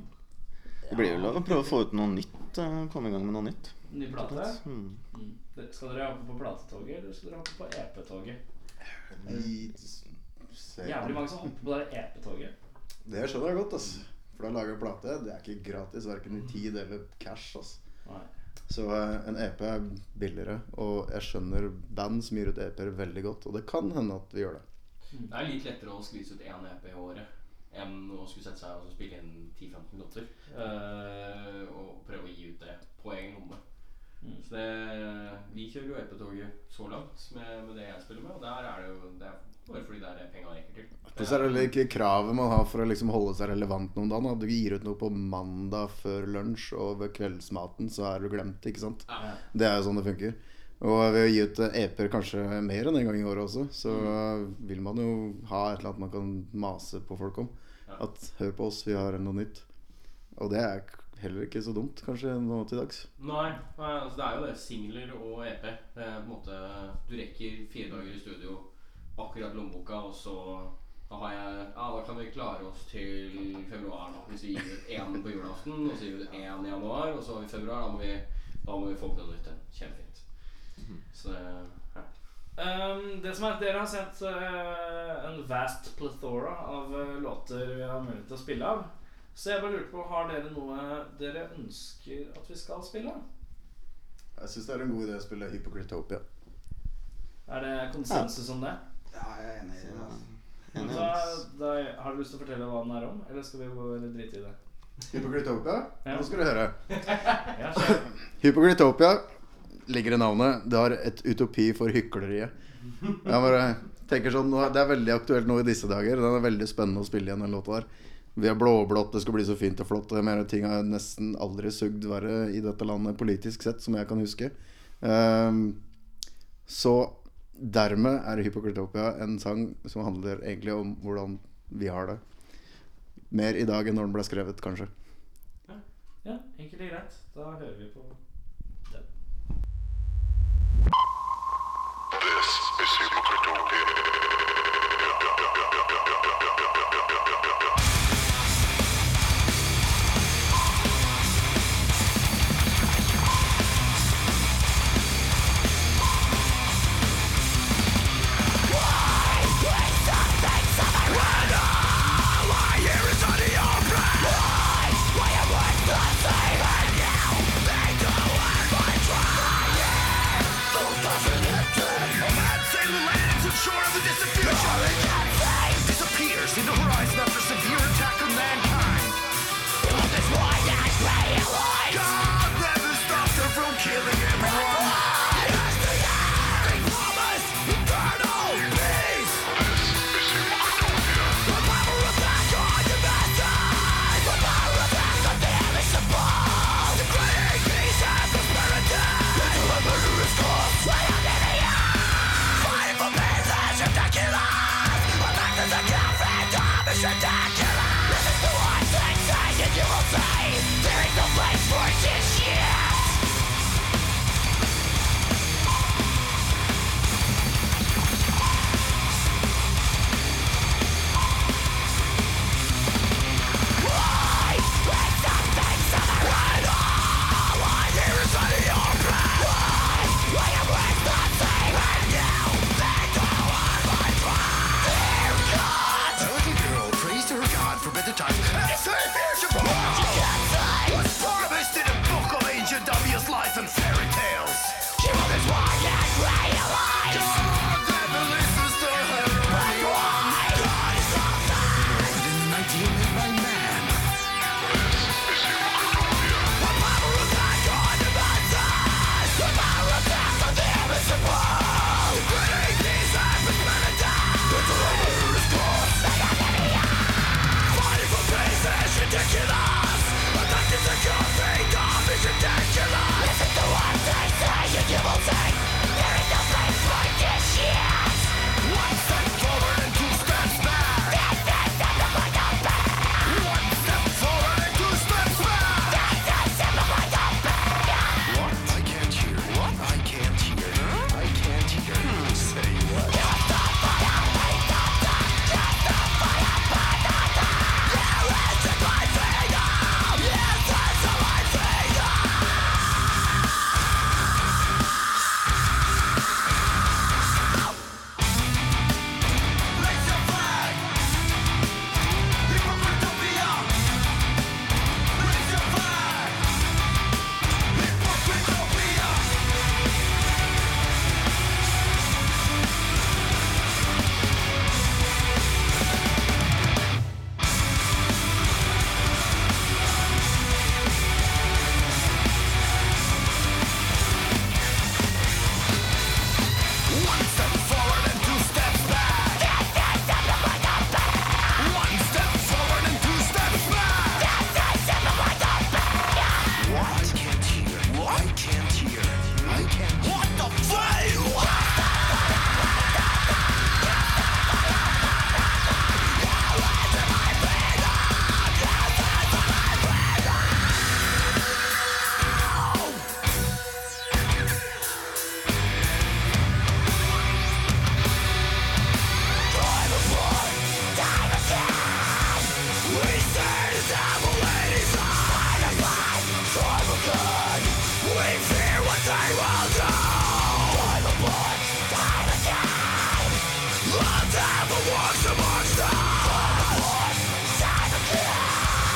S6: Det blir vel å prøve å få ut noe nytt. eh, Komme i gang med noe nytt.
S2: Ny plate?
S6: Hmm.
S2: Mm. Det- Skal dere hoppe på platetoget, eller skal dere hoppe på E EP-toget?
S4: vi ser
S2: Jævlig mange som hopper på det der EP-toget.
S4: Det skjønner jeg godt, ass. For da lager jeg plate. Det er ikke gratis, verken i tid eller cash. ass.
S2: Nei.
S4: Så eh, en EP er billigere, og jeg skjønner band som gir ut EP-er veldig godt. Og det kan hende at vi gjør det.
S3: Det er litt lettere å skvise ut én EP i året enn å skulle sette seg og spille inn 10-15 låter. eh, og prøve å gi ut det på egen lomme.
S2: Mm.
S3: Så det, vi kjører jo EP-toget så langt med, med det jeg spiller med, og der er det jo det er bare fordi det er det penga rekker til.
S4: Og så er det vel ikke kravet man har for å liksom holde seg relevant noen dag. At du gir ut noe på mandag før lunsj, og ved kveldsmaten så er du glemt. ikke sant?
S3: Ja.
S4: Det er jo sånn det funker. Og ved å gi ut eh, EP-er kanskje mer enn en gang i året også, så vil man jo ha et eller annet man kan mase på folk om.
S3: Ja.
S4: At 'hør på oss, vi har noe nytt'. Og det er k- heller ikke så dumt, kanskje, nå til dags.
S3: Nei, nei, altså det er jo det. Singler og EP. Det er på en måte Du rekker fire dager i studio, akkurat lommeboka, og så da har jeg Ja, da kan vi klare oss til februar, da. Hvis vi gir ut én på julaften, og så gir vi ut én i januar, og så har vi februar. Da må vi, da må vi få på noe nytt. igjen. Kjempefint. Så det ja.
S2: Ehm, det som er at Dere har sett eh, en vast plethora av eh, låter vi har mulighet til å spille av. Så jeg bare lurte på, har dere noe dere ønsker at vi skal spille?
S4: Jeg syns det er en god idé å spille Hypocritopia.
S2: Er det konsensus om det?
S7: Ja, jeg er enig i det. altså.
S6: Enig,
S2: Da,
S6: ass.
S2: da har du lyst til å fortelle hva den er om, eller skal vi bare drite i det?
S4: Hypocritopia?
S2: Ja.
S4: Nå skal du høre.
S2: Ja, skjer.
S4: Hypocritopia ligger i navnet. Det har et utopi for hykleriet. Jeg bare tenker sånn, nå er- Det er veldig aktuelt nå i disse dager. Den er veldig spennende å spille igjen, den låta der. Vi er blåblått, det skal bli så fint og flott. Og jeg mener, ting har nesten aldri sugd verre i dette landet politisk sett, som jeg kan huske. Ehm, så dermed er Hypocritopia en sang som handler egentlig om hvordan vi har det. Mer i dag enn når den ble skrevet, kanskje.
S2: Ja, enkelt og greit. Da hører vi på den.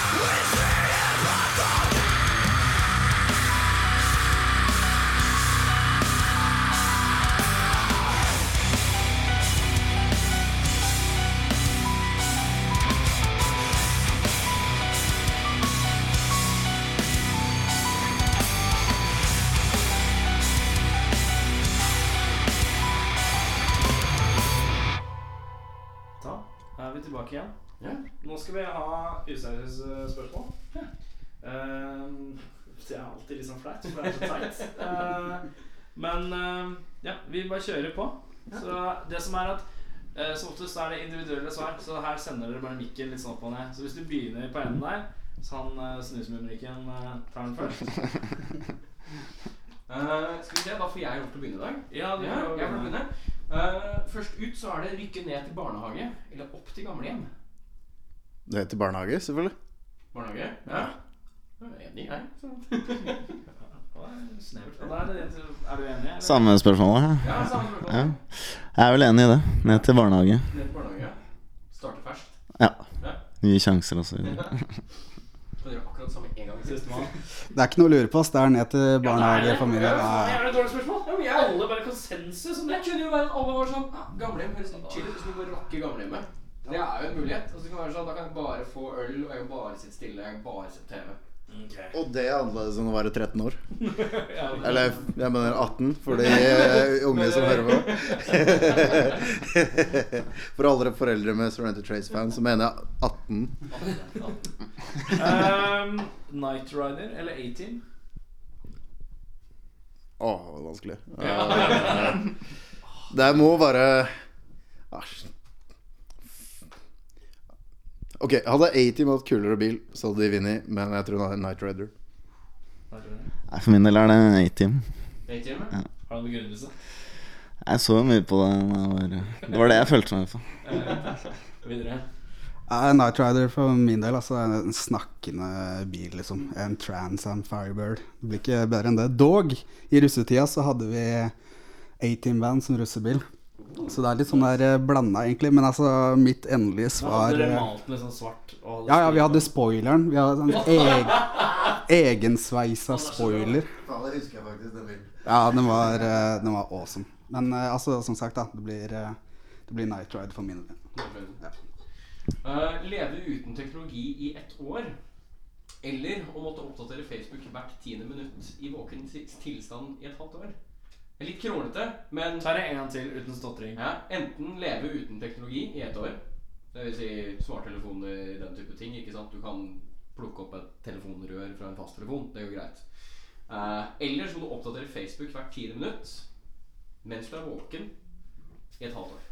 S9: We're
S2: tilbake igjen.
S3: Ja.
S2: Nå skal vi ha useriøse eh, spørsmål. Ehm, det er alltid litt sånn flaut, for det er så teit. Ehm, men ehm, ja, vi bare kjører på. Så det som er at eh, Som oftest er det individuelle svar, så her sender dere bare mikken litt sånn opp og ned. Så hvis du begynner på enden der, så han uh, snusmumrikken eh, tar den først.
S3: Eh, skal vi se, da får jeg lov til å begynne i dag.
S2: Ja, du
S3: Ja,
S2: får
S3: jeg får
S2: begynne.
S3: begynne. Eh, først ut så er det rykke ned til barnehage, eller opp til gamlehjem.
S4: Det heter barnehage, selvfølgelig.
S3: Barnehage? Ja. Jeg er Enig, jeg. så.
S2: Og der er det- er du enig? eller?
S6: Samme spørsmålet. ja.
S3: Ja, samme spørsmål.
S6: Ja. Jeg er vel enig i det. Ned til barnehage.
S3: Ned til barnehage. Starte ferskt.
S6: Nye sjanser og så videre.
S3: Så dere gjør akkurat det samme en gang til.
S2: Sistemann.
S7: Det er ikke noe å lure på. ass. Det er ned til
S3: Ja, det er det. Ja,
S7: barnehagefamilie. Nei.
S2: Er det et dårlig spørsmål?
S3: Ja, men jeg,
S2: Alle bare konsensus om det.
S3: det kunne jo være at alle var sånn ah, Gamlehjem høres litt chill ut, så vi bare rocker gamlehjemmet. Det er jo en mulighet. Og så kan det være sånn, Da kan jeg bare få øl, og jeg kan bare sitte stille, jeg kan bare se på TV.
S4: Og det er annerledes enn å være 13 år.
S2: Ja, men-
S4: Eller jeg mener 18, for de eh, unge som hører på. For alle foreldre med Surrender Trace-fans så mener jeg 18.
S2: um, Night Rider eller A-Team?
S4: Å, det var vanskelig. Eh, Det må være Æsj. Ok, hadde A-Team hatt kulere bil, så hadde de vunnet, men jeg tror det er Night Raider.
S6: Nei, For min del er det A-team.
S3: A-team?
S2: Har du en begrunnelse?
S6: Jeg så jo mye på det. da jeg var- eh, Det var det jeg følte meg for.
S2: Videre.
S7: Nei, Night Rider for min del altså, er en snakkende bil, liksom. En Trans Am Firebird. Det blir ikke bedre enn det. Dog, i russetida så hadde vi A-Team-band som russebil. Så det er litt sånn der blanda, egentlig. Men altså, mitt endelige
S2: Da hadde
S7: svar
S2: dere
S7: Ja,
S2: malt den litt sånn svart. Og
S7: eh, ja, vi hadde spoileren. Vi hadde en eg egensveisa spoiler.
S4: Faen, det husker jeg faktisk, den bilen.
S7: Ja, den var, eh, den var awesome. Men eh, altså, som sagt, da. Det blir, eh, det blir Night Rider for min del.
S3: Eh, leve uten teknologi i ett år. Eller å måtte oppdatere Facebook hvert tiende minutt i våken ti- tilstand i et halvt år. Det er litt kronglete, men
S2: Ta det en gang til uten stotring.
S3: ja, enten leve uten teknologi i ett år, dvs. Si smarttelefoner, den type ting. ikke sant? Du kan plukke opp et telefonrør fra en fasttelefon. Det går greit. Eh, eller så må du oppdatere Facebook hvert tiende minutt mens du er våken i et halvt år.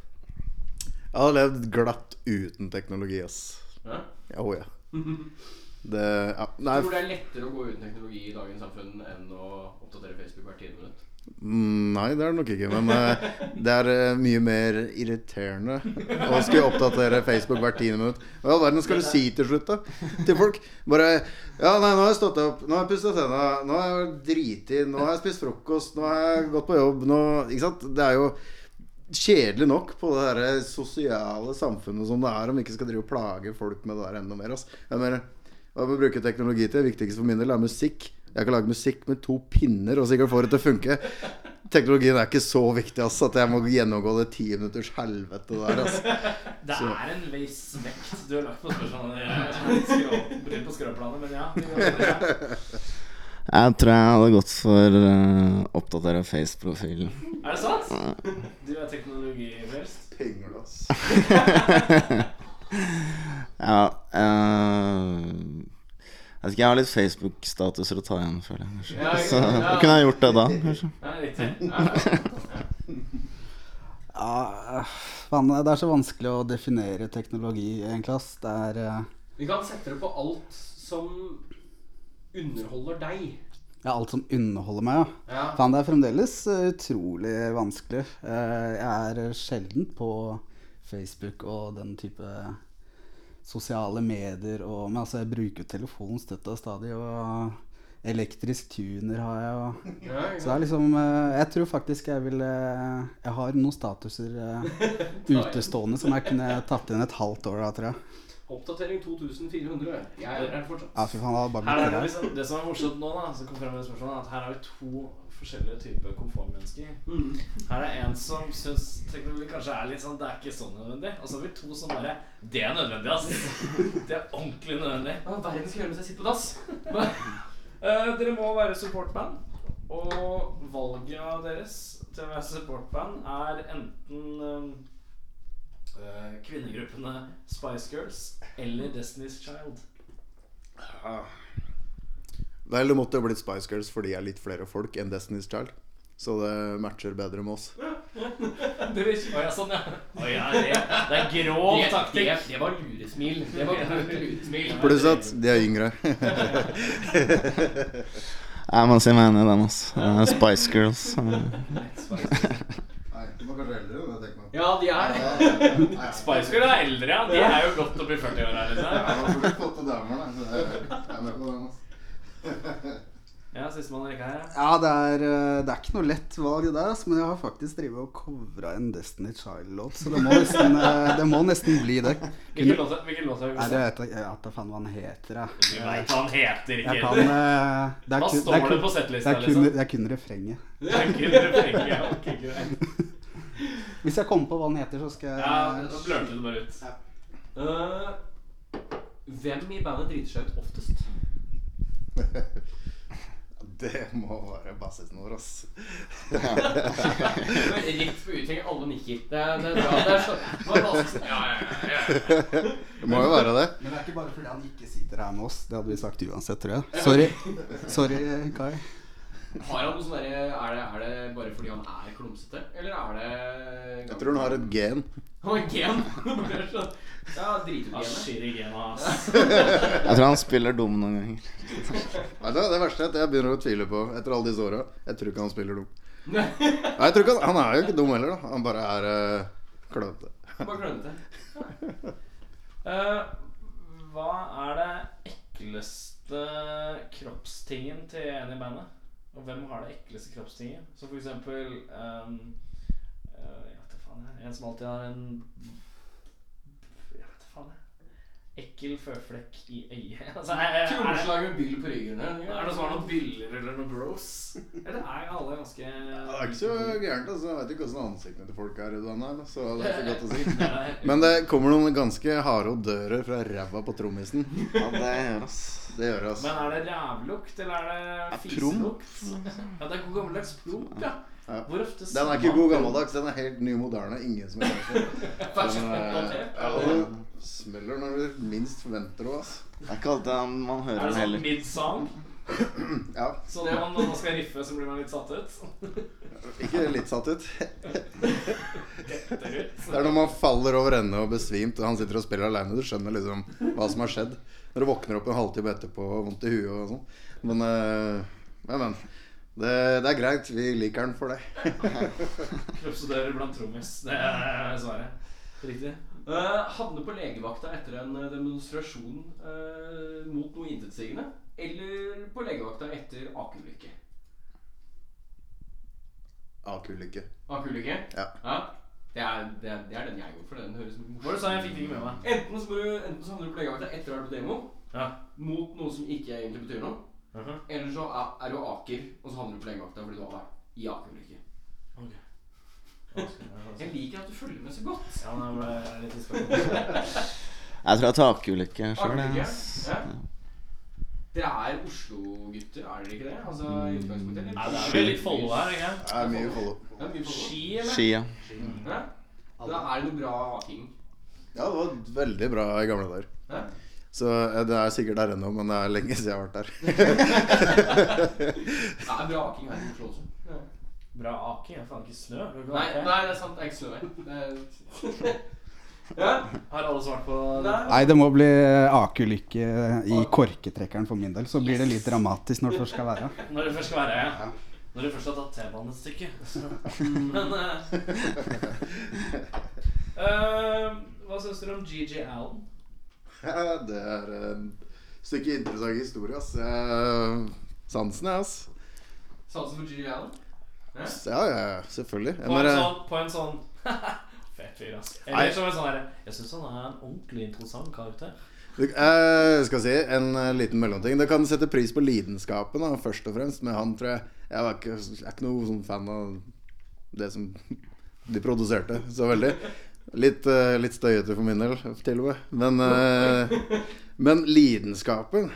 S4: Jeg hadde levd glatt uten teknologi, ass.
S3: Ja?
S4: Ja, oh, ja. Det ja. Nei,
S3: Jeg tror det er lettere å gå uten teknologi i dagens samfunn enn å oppdatere Facebook hvert tiende minutt.
S4: Mm, Nei, det er det nok ikke. Men eh, det er eh, mye mer irriterende å skulle oppdatere Facebook hvert tiende minutt. Hva i all verden skal du si til slutt, da? Til folk? Bare Ja, nei, nå har jeg stått opp. Nå har jeg pussa tenna. Nå har jeg driti. Nå har jeg spist frokost. Nå har jeg gått på jobb. Nå Ikke sant? Det er jo kjedelig nok på det der sosiale samfunnet som det er, om vi ikke skal drive og plage folk med det der enda mer. Ass. Jeg mener, hva jeg bruker teknologi til? Det viktigste for min del er musikk. Jeg kan lage musikk med to pinner og sikkert få det til å funke. Teknologien er ikke så viktig ass, at jeg må gjennomgå det ti minutters helvete der. Ass.
S2: Det
S4: Så-
S2: er en viss vekt du har lagt på spørsmålene. Jeg skrå- bryr på skråplanet, men ja. vi går videre.
S6: Jeg tror jeg hadde gått for uh, oppdatera face-profilen.
S2: Er det sant? Du er teknologifrelst.
S4: Pingle, ass.
S6: Ja eh, Jeg vet ikke, jeg har litt Facebook-statuser å ta igjen, føler jeg. kanskje.
S3: Ja,
S6: Så da kunne jeg gjort det da, kanskje.
S2: Ja, riktig.
S7: Ja, faen, det er så vanskelig å definere teknologi, egentlig. ass. Det er eh,
S3: Vi kan sette det på alt som underholder deg.
S7: ja, alt som underholder meg, ja.
S3: Ja.
S7: Faen, det er fremdeles eh, utrolig vanskelig. Eh, Jeg er sjelden på Facebook og den type sosiale medier og Men altså, jeg bruker jo telefonen støtt og stadig, og elektrisk tuner har jeg, og
S3: Ja, ikke
S7: så det er liksom eh, Jeg tror faktisk jeg vil eh, Jeg har noen statuser eh, utestående som jeg kunne tatt inn et halvt år da, tror jeg.
S3: sant? Oppdatering 2400. Jeg er her fortsatt.
S7: Ja, fy faen, det hadde bare
S2: Her er
S7: blitt
S2: det,
S7: det.
S2: liksom, det som er morsomt nå, da, som kom frem i det spørsmålet, er at her har vi to forskjellige typer komfortmennesker.
S3: Mm.
S2: Her er en som syns teknologi kanskje er litt sånn Det er ikke så nødvendig. Og så har vi to som bare Det er nødvendig, ass. Det er ordentlig nødvendig.
S3: Hva i verden skal jeg gjøre mens jeg sitter på dass?
S2: Eh, dere må være supportband. Og valget deres til å være supportband er enten eh, eh, kvinnegruppene Spice Girls eller Destiny's Child?
S4: Vel, det måtte jo blitt Spice Girls fordi jeg er litt flere folk enn Destiny's Child. Så det matcher bedre med oss.
S2: Det vil ikke være sånn, ja. Å ja, det, det er grov
S3: Det, det,
S2: taktikk.
S3: det var luresmil. Det var et luresmil.
S4: Pluss at de er yngre.
S6: Jeg må si meg enig i den, altså. Det er Spice Girls. eh.
S4: Nei, du var kanskje eldre, det tenker jeg.
S3: Ja, de er det.
S2: Spice Girls er eldre, ja. De er jo godt oppi 40-åra. Liksom. Ja, sistemann i rekka her. ja.
S7: Ja, det er, eh, det er ikke noe lett valg det der, ass, men jeg har faktisk drevet og covra en Destiny Child-låt, så det må nesten, eh, det må nesten bli det.
S2: Hvilken låt er- hvilken låt er
S7: Nei,
S2: det?
S7: det vet jeg jeg vet da faen hva den heter, jeg.
S2: Du veit hva han heter, ikke
S7: Jeg kan
S2: heller.
S7: eh, det er
S2: Hva
S7: kun-
S2: står
S7: er
S2: det
S7: kun-
S2: på
S7: Det
S2: settlista,
S7: er kun,
S2: liksom?
S7: det er kun refrenget.
S2: Det er kun refrenget, ja, ok, greit.
S7: Hvis jeg kommer på hva den heter, så skal jeg
S2: Ja, da blørte du bare ut.
S3: Eh, hvem i bandet driter seg ut oftest?
S4: Det må være bassisten vår, ass.
S3: Det var Rett på uttrekk. Alle nikker. Det, er- det er bra. Det er så, det var vanskelig. ja, ja, ja, ja.
S4: Det må jo være det.
S7: Men det er ikke bare fordi han ikke sitter her med oss. Det hadde vi sagt uansett, tror jeg. Sorry, Sorry Kai.
S3: Har han noe sånn derre er, det- er det bare fordi han er klumsete, eller er det
S4: Jeg tror han har et gen.
S3: Han har gen. Det er sånn- ja, driter
S2: Ja,
S3: ut genet.
S2: Shirigema, ass.
S6: Jeg tror han spiller dum noen ganger.
S4: Nei, det, er det verste er at jeg begynner å tvile på etter alle disse åra. Jeg tror ikke han spiller dum. Nei, jeg tror ikke han, han er jo ikke dum heller, da. Han bare er uh, klønete.
S3: Bare klønete.
S2: Eh, hva er det ekleste kroppstingen til en i bandet? Og hvem har det ekleste kroppstinget? Så for eksempel um, Jeg vet da faen, jeg. En som alltid har en Jeg vet da faen, jeg. Ekkel føflekk i øyet. Altså, er, er, er, det,
S3: Trommeslager med byll på ryggen.
S2: er det sånn noen som har noen byller eller noen bros? Eller er alle ganske
S4: Det er ikke så gærent, altså. Jeg vet ikke åssen ansiktene til folk er i den her, så det er ikke godt å si. Men det kommer noen ganske harde odører fra ræva på trommisen.
S6: Ja, det gjør oss.
S4: Det gjør det, altså.
S2: Men er det rævlukt, eller er det
S4: promp.
S2: fiselukt? Ja, det er god gammeldags promp, ja.
S4: Ja.
S2: Hvor ofte
S4: Den er ikke god gammeldags, den er helt ny moderne. Ingen som er klar for den. eh, ja, og det Smeller når du minst forventer det, altså.
S6: Det er ikke alltid han- man hører
S2: Er det
S6: den
S2: sånn
S6: heller.
S2: mid-song?
S4: Ja,
S2: Så når man, når man skal riffe, så blir man litt satt ut?
S4: ikke litt satt ut.
S2: Detter ut.
S4: Det er når man faller over ende og besvimt, og han sitter og spiller aleine. Du skjønner liksom hva som har skjedd. Når du våkner opp en halvtime etterpå og vondt i huet og sånn. Men, eh, men, men. Det, det er greit. Vi liker den for det.
S2: Kroppsdører blant trommis. Det er svaret. Riktig.
S3: Eh, havne på legevakta etter en eh, demonstrasjon eh, mot noe intetsigende. Eller på legevakta etter akeulykke.
S4: Akulykke.
S3: Akeulykke?
S4: Ja.
S3: Det, er, det, er, det er den jeg går for. Den høres
S2: Hva var det du sa? Jeg fikk det ikke med meg.
S3: Enten så, må du, enten så havner du på legevakta etter å ha vært på demo
S2: Ja.
S3: mot noe som ikke egentlig betyr noe.
S2: Mhm.
S3: Eller så er, er du aker, og så havner du på legevakta fordi du har vært i akeulykke. Jeg liker at du følger med så godt.
S2: Ja, nå ble jeg litt spørsmål.
S6: Jeg tror jeg tar akeulykke sjøl.
S3: Akeulykke? Ja. Dere er Oslo-gutter, er dere ikke det? Altså, i utgangspunktet? eller?
S2: Mm. Nei, det er vel litt follow her, ikke sant?
S4: Det er mye follow.
S3: Ja, mye follow.
S2: Ski, eller?
S6: Skia.
S3: Ja. Da er det noe bra aking.
S4: Ja, det var veldig bra i gamle dager.
S3: Ja.
S4: Så eh, det er sikkert der ennå, men det er lenge siden jeg har vært der.
S3: Det er bra aking her i Oslo også.
S2: Bra aking. Det er faen ikke snø.
S3: Nei, nei, det er sant. Det er ikke snø her. Det er- Ja.
S2: Har alle svart på
S3: Nei.
S7: Nei, det må bli akelykke i korketrekkeren for min del. Så blir det litt dramatisk når det først skal være.
S2: Når det først skal være ja. Når du først har tatt T-banen et stykke. Så. Men eh, eh, Hva syns dere om GG Allen?
S4: Ja, det er et stykke interessant historie, ass. Jeg, sansen, jeg, ass.
S3: Satser på Gigi Allen.
S4: Så Ja, ja, ja, selvfølgelig. eh, Jeg
S2: På en
S4: bare,
S2: sånn, på en sånn Fet fyr, ass. Eller som en sånn herre Jeg syns han er en ordentlig interessant karakter.
S4: du, eh, skal si en eh, liten mellomting. Det kan sette pris på lidenskapen, da, først og fremst. Men han tror jeg Jeg, var ikke, jeg er ikke noe sånn fan av det som de produserte så veldig. Litt, eh, litt støyete for min del, til og med. Men, eh, men lidenskapen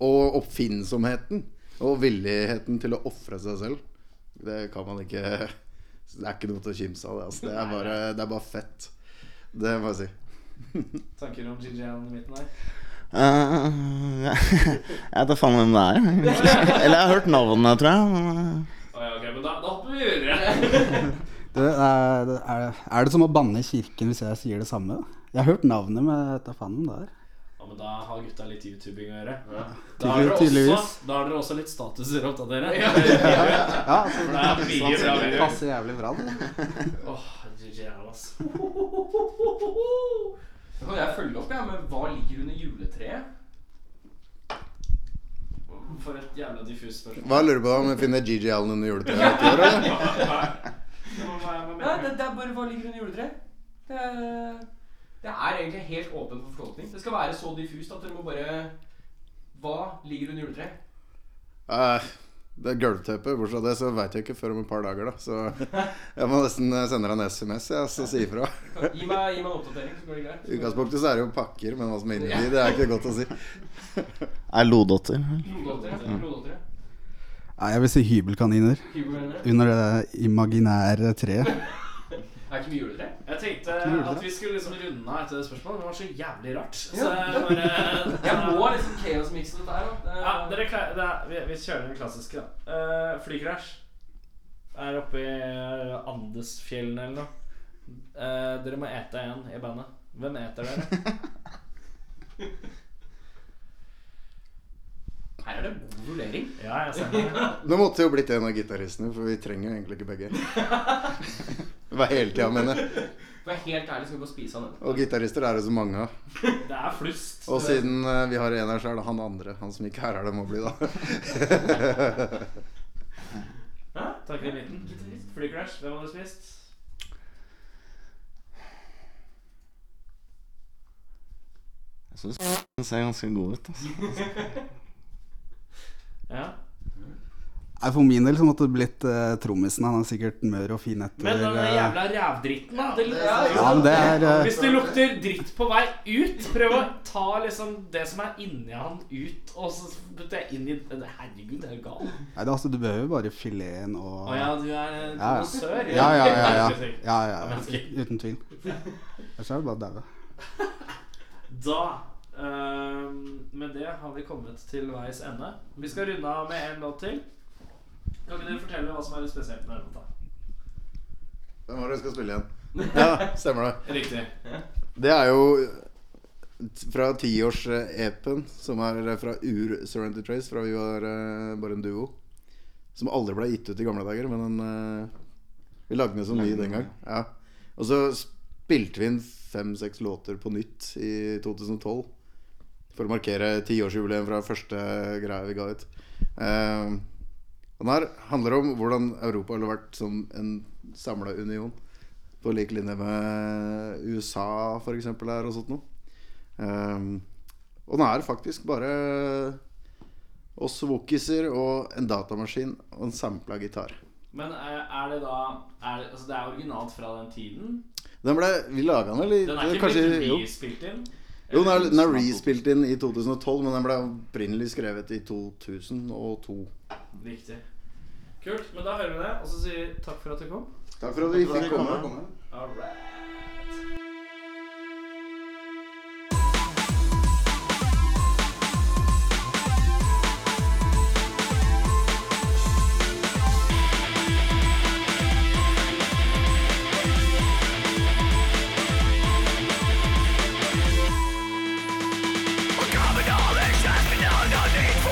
S4: og oppfinnsomheten og villigheten til å ofre seg selv, det kan man ikke Det er ikke noe til å kimse av, det. Altså. Det, er bare, det er bare fett. Det må jeg si.
S2: Tanker om GGN i midten her?
S6: Eh, jeg vet da faen hvem det er. Eller jeg har hørt navnet, tror jeg. men, eh,
S2: Å ja, ok, men da, da hopper vi videre.
S7: Du, er, det- er, det- er det som å banne i kirken hvis jeg sier det samme? Jeg har hørt navnet, men jeg vet da faen hvem det er.
S2: Ja, men da har gutta litt YouTubing å gjøre. Da har dere
S7: Tydelig-
S2: også,
S7: tydeligvis.
S2: da har dere også litt statuser å oppdatere. For
S7: Ja, altså,
S2: det er mye bra
S7: det
S2: videoer.
S7: passer jævlig bra. Det.
S2: Åh, GGN, ass.
S5: Da kan jeg følge opp jeg, med hva ligger under juletreet.
S2: For et jævla diffust spørsmål.
S4: Hva lurer du på om jeg finner GG Allen under juletreet? i år, eller?
S2: Det må være med
S5: Nei, det,
S2: mening.
S5: det er bare hva ligger under juletreet. Det er, det er egentlig helt åpen for fortolkning. Det skal være så diffust at dere må bare Hva ligger under juletreet?
S4: Eh, Det er gulvteppe. Bortsett fra det så veit jeg ikke før om et par dager, da. Så jeg må nesten eh, sende deg en SMS ja, og si ifra.
S5: Gi meg, gi meg en oppdatering, så går det greit.
S4: I utgangspunktet så er det jo pakker, men hva som er inni de, det er ikke godt å si.
S6: Er Lodotter.
S5: Blodåtere. Blodåtere.
S7: Nei, jeg vil si hybelkaniner
S5: Hybelvenner.
S7: under det imaginære treet.
S5: Det er ikke mye juletre.
S2: Jeg tenkte at vi skulle liksom runde av etter det spørsmålet, men det var så jævlig rart. Så jeg
S5: Jeg
S2: bare
S5: må liksom chaos-mikse dette her. da.
S2: Ja, dere kla- det er, vi, vi kjører den klassiske, da. Eh, flykrasj. Er oppe i eh, Andesfjellene eller noe. Eh, dere må ete en i bandet. Hvem eter dere?
S5: Her er det god vurdering.
S2: Ja, jeg ser det.
S4: Nå måtte det jo blitt en av gitaristene, for vi trenger jo egentlig ikke begge. Hva hele tida mener.
S5: For jeg er helt ærlig skal vi bare spise han denne.
S4: Og gitarister er det så mange av.
S2: Det er flust.
S4: Og siden eh, vi har en her, så er det han andre. Han som ikke er her, det må bli, da.
S2: Hæ? Takk i midten. Flykrasj, hvem hadde spist?
S6: Jeg syns den ser ganske god ut. Altså.
S2: Ja.
S7: Nei, For min del så måtte det blitt eh, trommisen. Han er sikkert mør og fin etter
S2: Men den
S7: eh,
S2: jævla rævdritten, da. Det,
S7: Ja, men det er eh,
S2: Hvis det lukter dritt på vei ut, prøv å ta liksom det som er inni han, ut. Og så putter jeg inn i Herregud, det er jo galt.
S7: Nei, det, er altså, du behøver jo bare fileten og
S2: Å ja, du er eh,
S7: Ja, ja.
S2: kondosør?
S7: ja, ja, ja, ja.
S2: Herregud.
S7: ja, ja, ja. Uten tvil. Ellers er det bare å daue.
S2: Da ehm, Med det har vi kommet til veis ende. Vi skal runde av med en låt til. Kan ikke dere fortelle hva som er litt spesielt med denne låta?
S4: Hvem var det vi skal spille igjen? Ja, stemmer det.
S2: Riktig.
S4: Det er jo fra tiårs-epen, som er fra Ur Serenity Trace, fra vi var eh, bare en duo. Som aldri ble gitt ut i gamle dager, men den, eh, vi lagde den som ny den gang. Ja. Og så spilte vi inn fem-seks låter på nytt i 2012. For å markere tiårsjubileum fra første greia vi ga ut. Eh, og den her handler om hvordan Europa har vært som en samla union på lik linje med USA for eksempel her og sånt noe. Ehm, og den er faktisk bare oss wokiser og en datamaskin og en sampla gitar.
S2: Men eh, er det da er det, altså det er originalt fra den tiden.
S4: Den ble, Vi laga den vel i
S2: Den er ikke
S4: kanskje,
S2: blitt
S4: jo.
S2: respilt inn.
S4: jo, den er, den er respilt inn i 2012, men den ble opprinnelig skrevet i 2002.
S2: Riktig. Kult. Men da hører vi det, og så sier vi takk for at du kom.
S4: Takk for at vi fikk komme.
S2: All right.
S9: One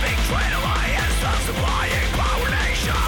S9: big train of my ass, I'm supplying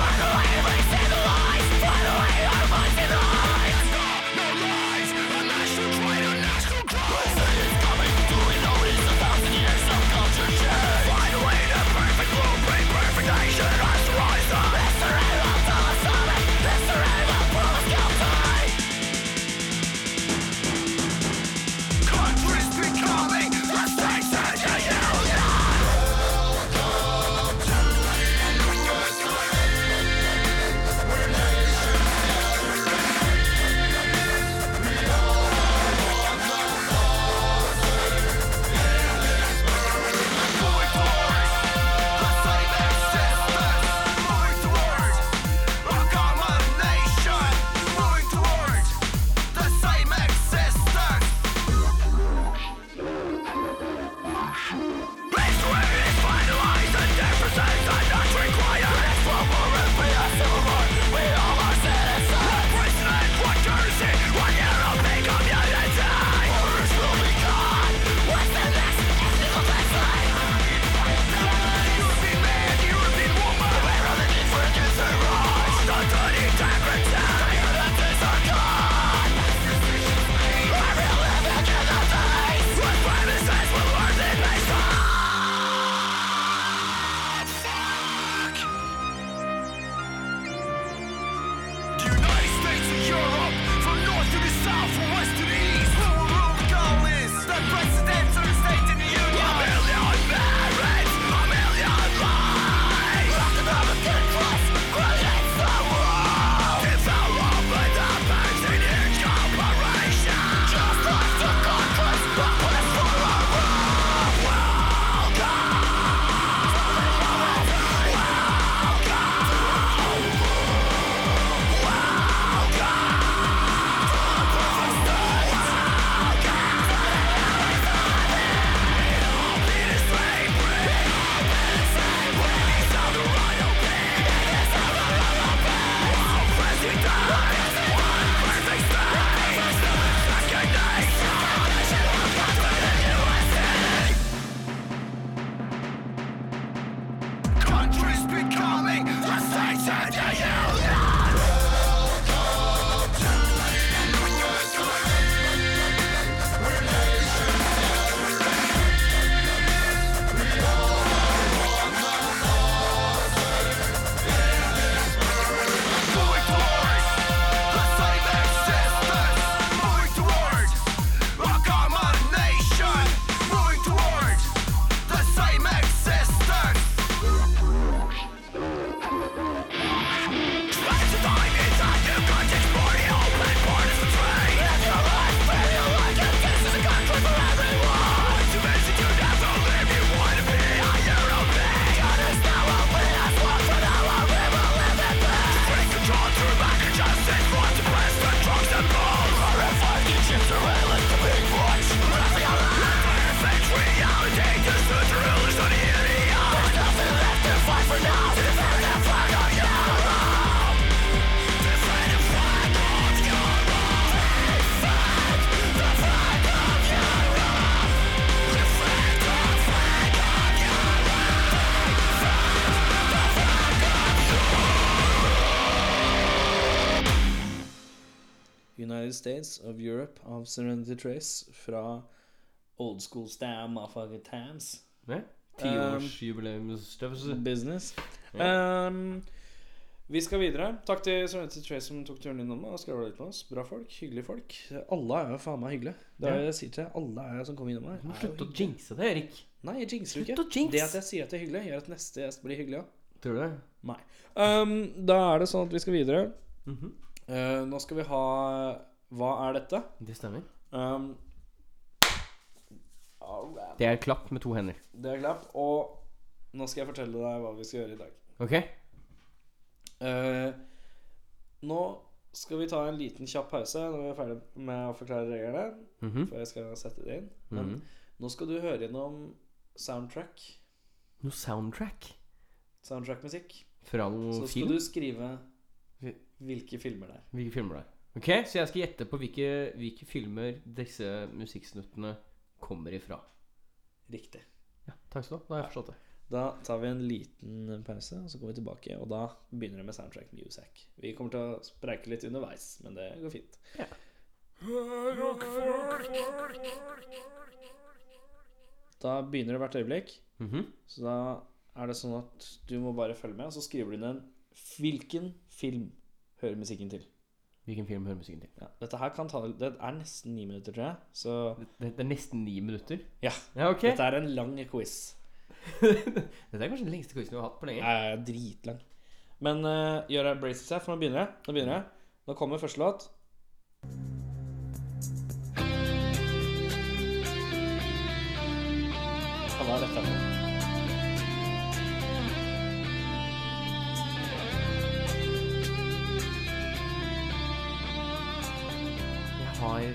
S10: United States of Europe av Serenity Trace fra Old School Stam Motherfucker Tams
S3: Ja.
S2: Eh,
S3: Tiårsjubileumsstøvelse.
S10: Business. Um, vi skal videre. Takk til Serenity Trace som tok turen innom og skravla litt med oss. Bra folk. Hyggelige folk. Alle er jo faen meg hyggelige. Det er det jeg sier til deg. Alle er som kommer innom her.
S3: Du
S2: Mhm.
S3: må
S10: er jo
S3: Slutt å jinxe det, Erik.
S10: Nei, jeg jinxer jo
S3: Slutt å jinx.
S10: ikke. Det at jeg sier at det er hyggelig, gjør at neste gjest blir hyggelig òg.
S3: Tror du det?
S10: Nei. Um, da er det sånn at vi skal videre. Uh, nå skal vi ha Hva er dette?
S3: Det stemmer.
S10: Um, alright.
S3: Det er klapp med to hender.
S10: det er klapp. Og nå skal jeg fortelle deg hva vi skal gjøre i dag.
S3: Ok?
S10: Eh, nå skal vi ta en liten kjapp pause når vi er ferdig med å forklare reglene.
S3: Mhm.
S10: For jeg skal sette det inn. Men
S3: Mhm.
S10: nå skal du høre gjennom soundtrack.
S3: Noe soundtrack
S10: Soundtrackmusikk.
S3: fra
S10: Så
S3: noen
S10: skal
S3: film?
S10: du skrive
S3: Vi-
S10: hvilke filmer det er.
S3: Hvilke filmer det er. Ok, Så jeg skal gjette på hvilke, hvilke filmer disse musikksnuttene kommer ifra.
S10: Riktig.
S3: Ja, Takk skal du ha. Da har jeg forstått det.
S10: Da tar vi en liten pause, og så kommer vi tilbake. Og da begynner det med soundtrack music. Vi kommer til å spreike litt underveis, men det går fint. Da begynner det hvert øyeblikk.
S3: Mhm.
S10: Så da er det sånn at du må bare følge med, og så skriver du inn en hvilken film hører musikken til.
S3: Hvilken film hører musikken til?
S10: Ja, dette her kan ta Det er nesten ni minutter, tror jeg. Så
S3: Det, det er nesten ni minutter.
S10: Ja.
S3: ja ok
S10: dette er en lang quiz.
S3: Dette er kanskje den lengste quizen vi har hatt på lenge.
S10: Jeg er dritlang. Men eh, gjør jeg brace yourself, for nå begynner jeg. Nå begynner jeg. Nå kommer første låt. Ja, Hva er dette? for noe?
S3: Jeg har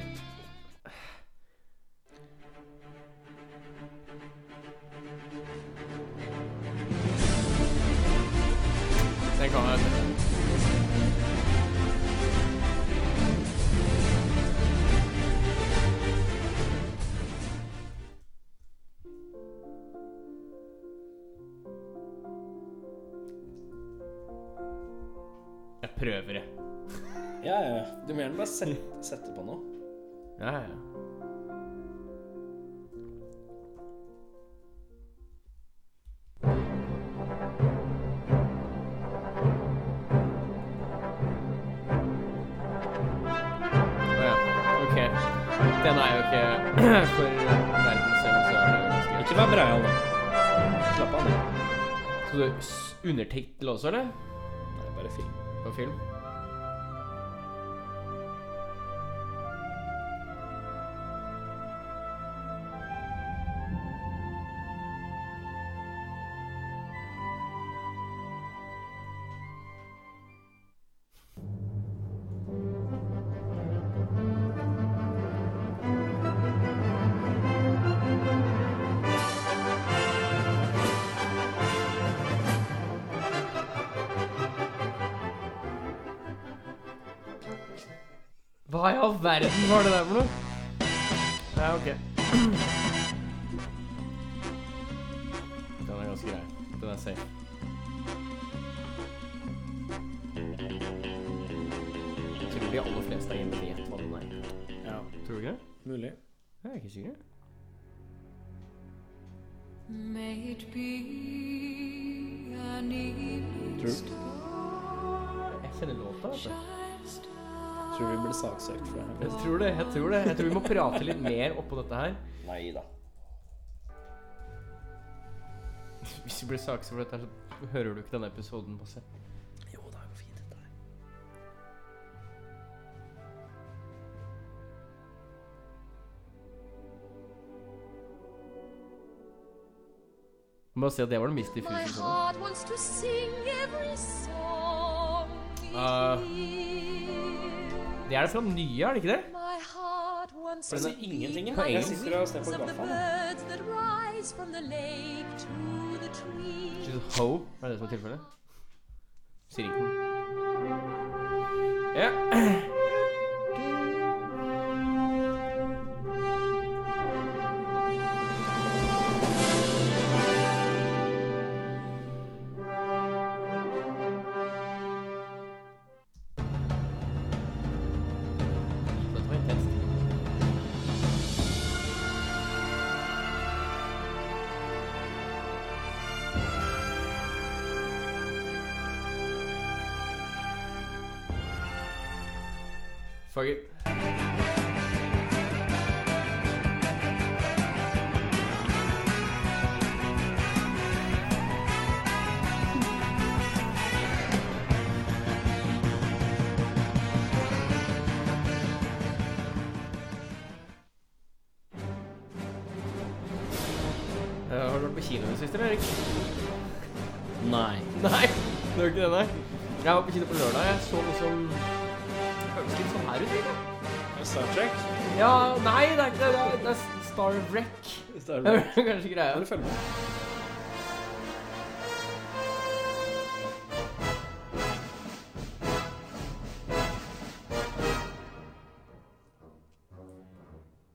S3: Den kan jeg Jeg prøver, jeg.
S10: Ja, ja, ja. Du må gjerne bare sette, sette på noe.
S3: Ja, ja, ja. Å, ja. Ok. Den
S2: den er jo ikke for verdens størrelse. er det jo ganske greit.
S3: Ikke vær breial, da. Slapp av. nå.
S2: Skal du s- undertittel også, eller?
S3: Det er bare film.
S2: På film? Hva i all verden var det der for noe? Ja, ok. Den er ganske grei. Den er safe. Jeg tror de aller fleste her hjemme vet hva den er.
S3: Ja,
S2: Tror du ikke det?
S3: mulig.
S2: Jeg er ikke sikker.
S10: May it be an evening
S2: Jeg kjenner låta. vet du.
S3: Tror vi blir saksøkt for det.
S2: Jeg tror det. Jeg tror det. Jeg tror vi må prate litt mer oppå dette her.
S3: Nei da.
S2: Hvis vi blir saksøkt for dette, her, så hører du ikke denne episoden masse.
S3: Jo, det er jo fint, dette her.
S2: Jeg må bare si at det var den mest diffuse
S10: My
S2: episoden.
S10: heart wants to sing every song it
S2: Uh,
S10: hears.
S2: Det er det fra den nye, er det ikke det?
S10: My heart wants
S3: For
S10: to
S3: det er ingenting
S10: sing
S3: her. Jeg
S10: the
S3: sitter og ser
S10: songs
S3: på
S10: of the
S3: gaffaen.
S10: birds that rise from the lake to the trees.
S2: She's a hoe. Er det det som er tilfellet? Sier ikke noe. Ja. Dette var intenst. Fuck it. Eh, Har du vært på kino i det siste, eller, Erik?
S3: Nei.
S2: Nei, det var ikke det, nei. Jeg var på kino på lørdag. Jeg så noe som høres litt sånn her ut. egentlig.
S3: Star Trek?
S2: Ja, nei, det er ikke det. Det er, det er Star Wreck.
S3: Star
S2: Det
S3: Trek.
S2: er Kanskje greia.
S3: Eller følg med.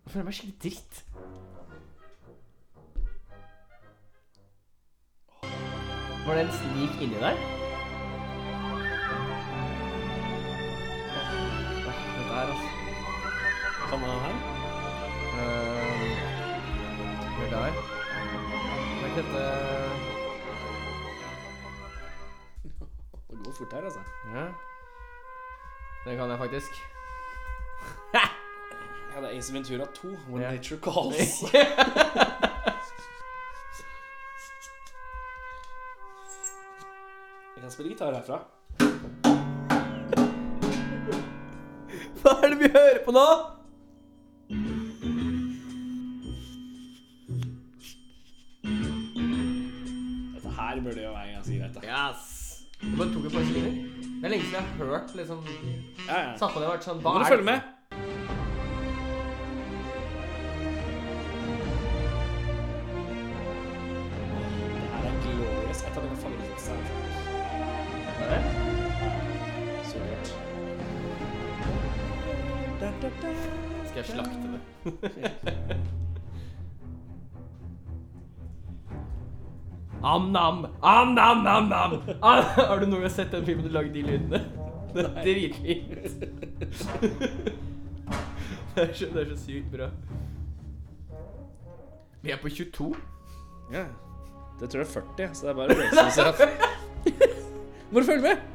S2: Jeg føler meg skikkelig dritt. Var det en snik inni der? Åh, Dette her, altså.
S3: Kan man ha den her?
S2: Hør der. Det er ikke dette
S3: Det går fort her, altså.
S2: Ja. Den kan jeg faktisk.
S3: Ja, det er Ace Ventura 2, When
S2: Ja.
S3: Nature Calls. Jeg kan spille gitar herfra.
S2: Hva er det vi hører på nå?
S3: Dette her burde jo være ganske greit, da.
S2: Yes! Det bare tok et par sekunder. Det er lenge siden jeg har hørt liksom
S3: Ja, ja.
S2: Satt på det og vært sånn
S3: Nå
S2: Hva
S3: må du
S2: er
S3: følge med. Det her er glorious. Et av mine favorittsoundtracks.
S2: Er det?
S3: Så gøy.
S2: Skal jeg slakte det? Am-nam! Am-nam, nam-nam! Har du noen gang sett den filmen du lagde de lydene? Det er dritfint. Det er, så, det er så sykt bra. Vi er på 22.
S3: Ja. Det tror jeg er 40, så det er bare Blazers. Må du følge med?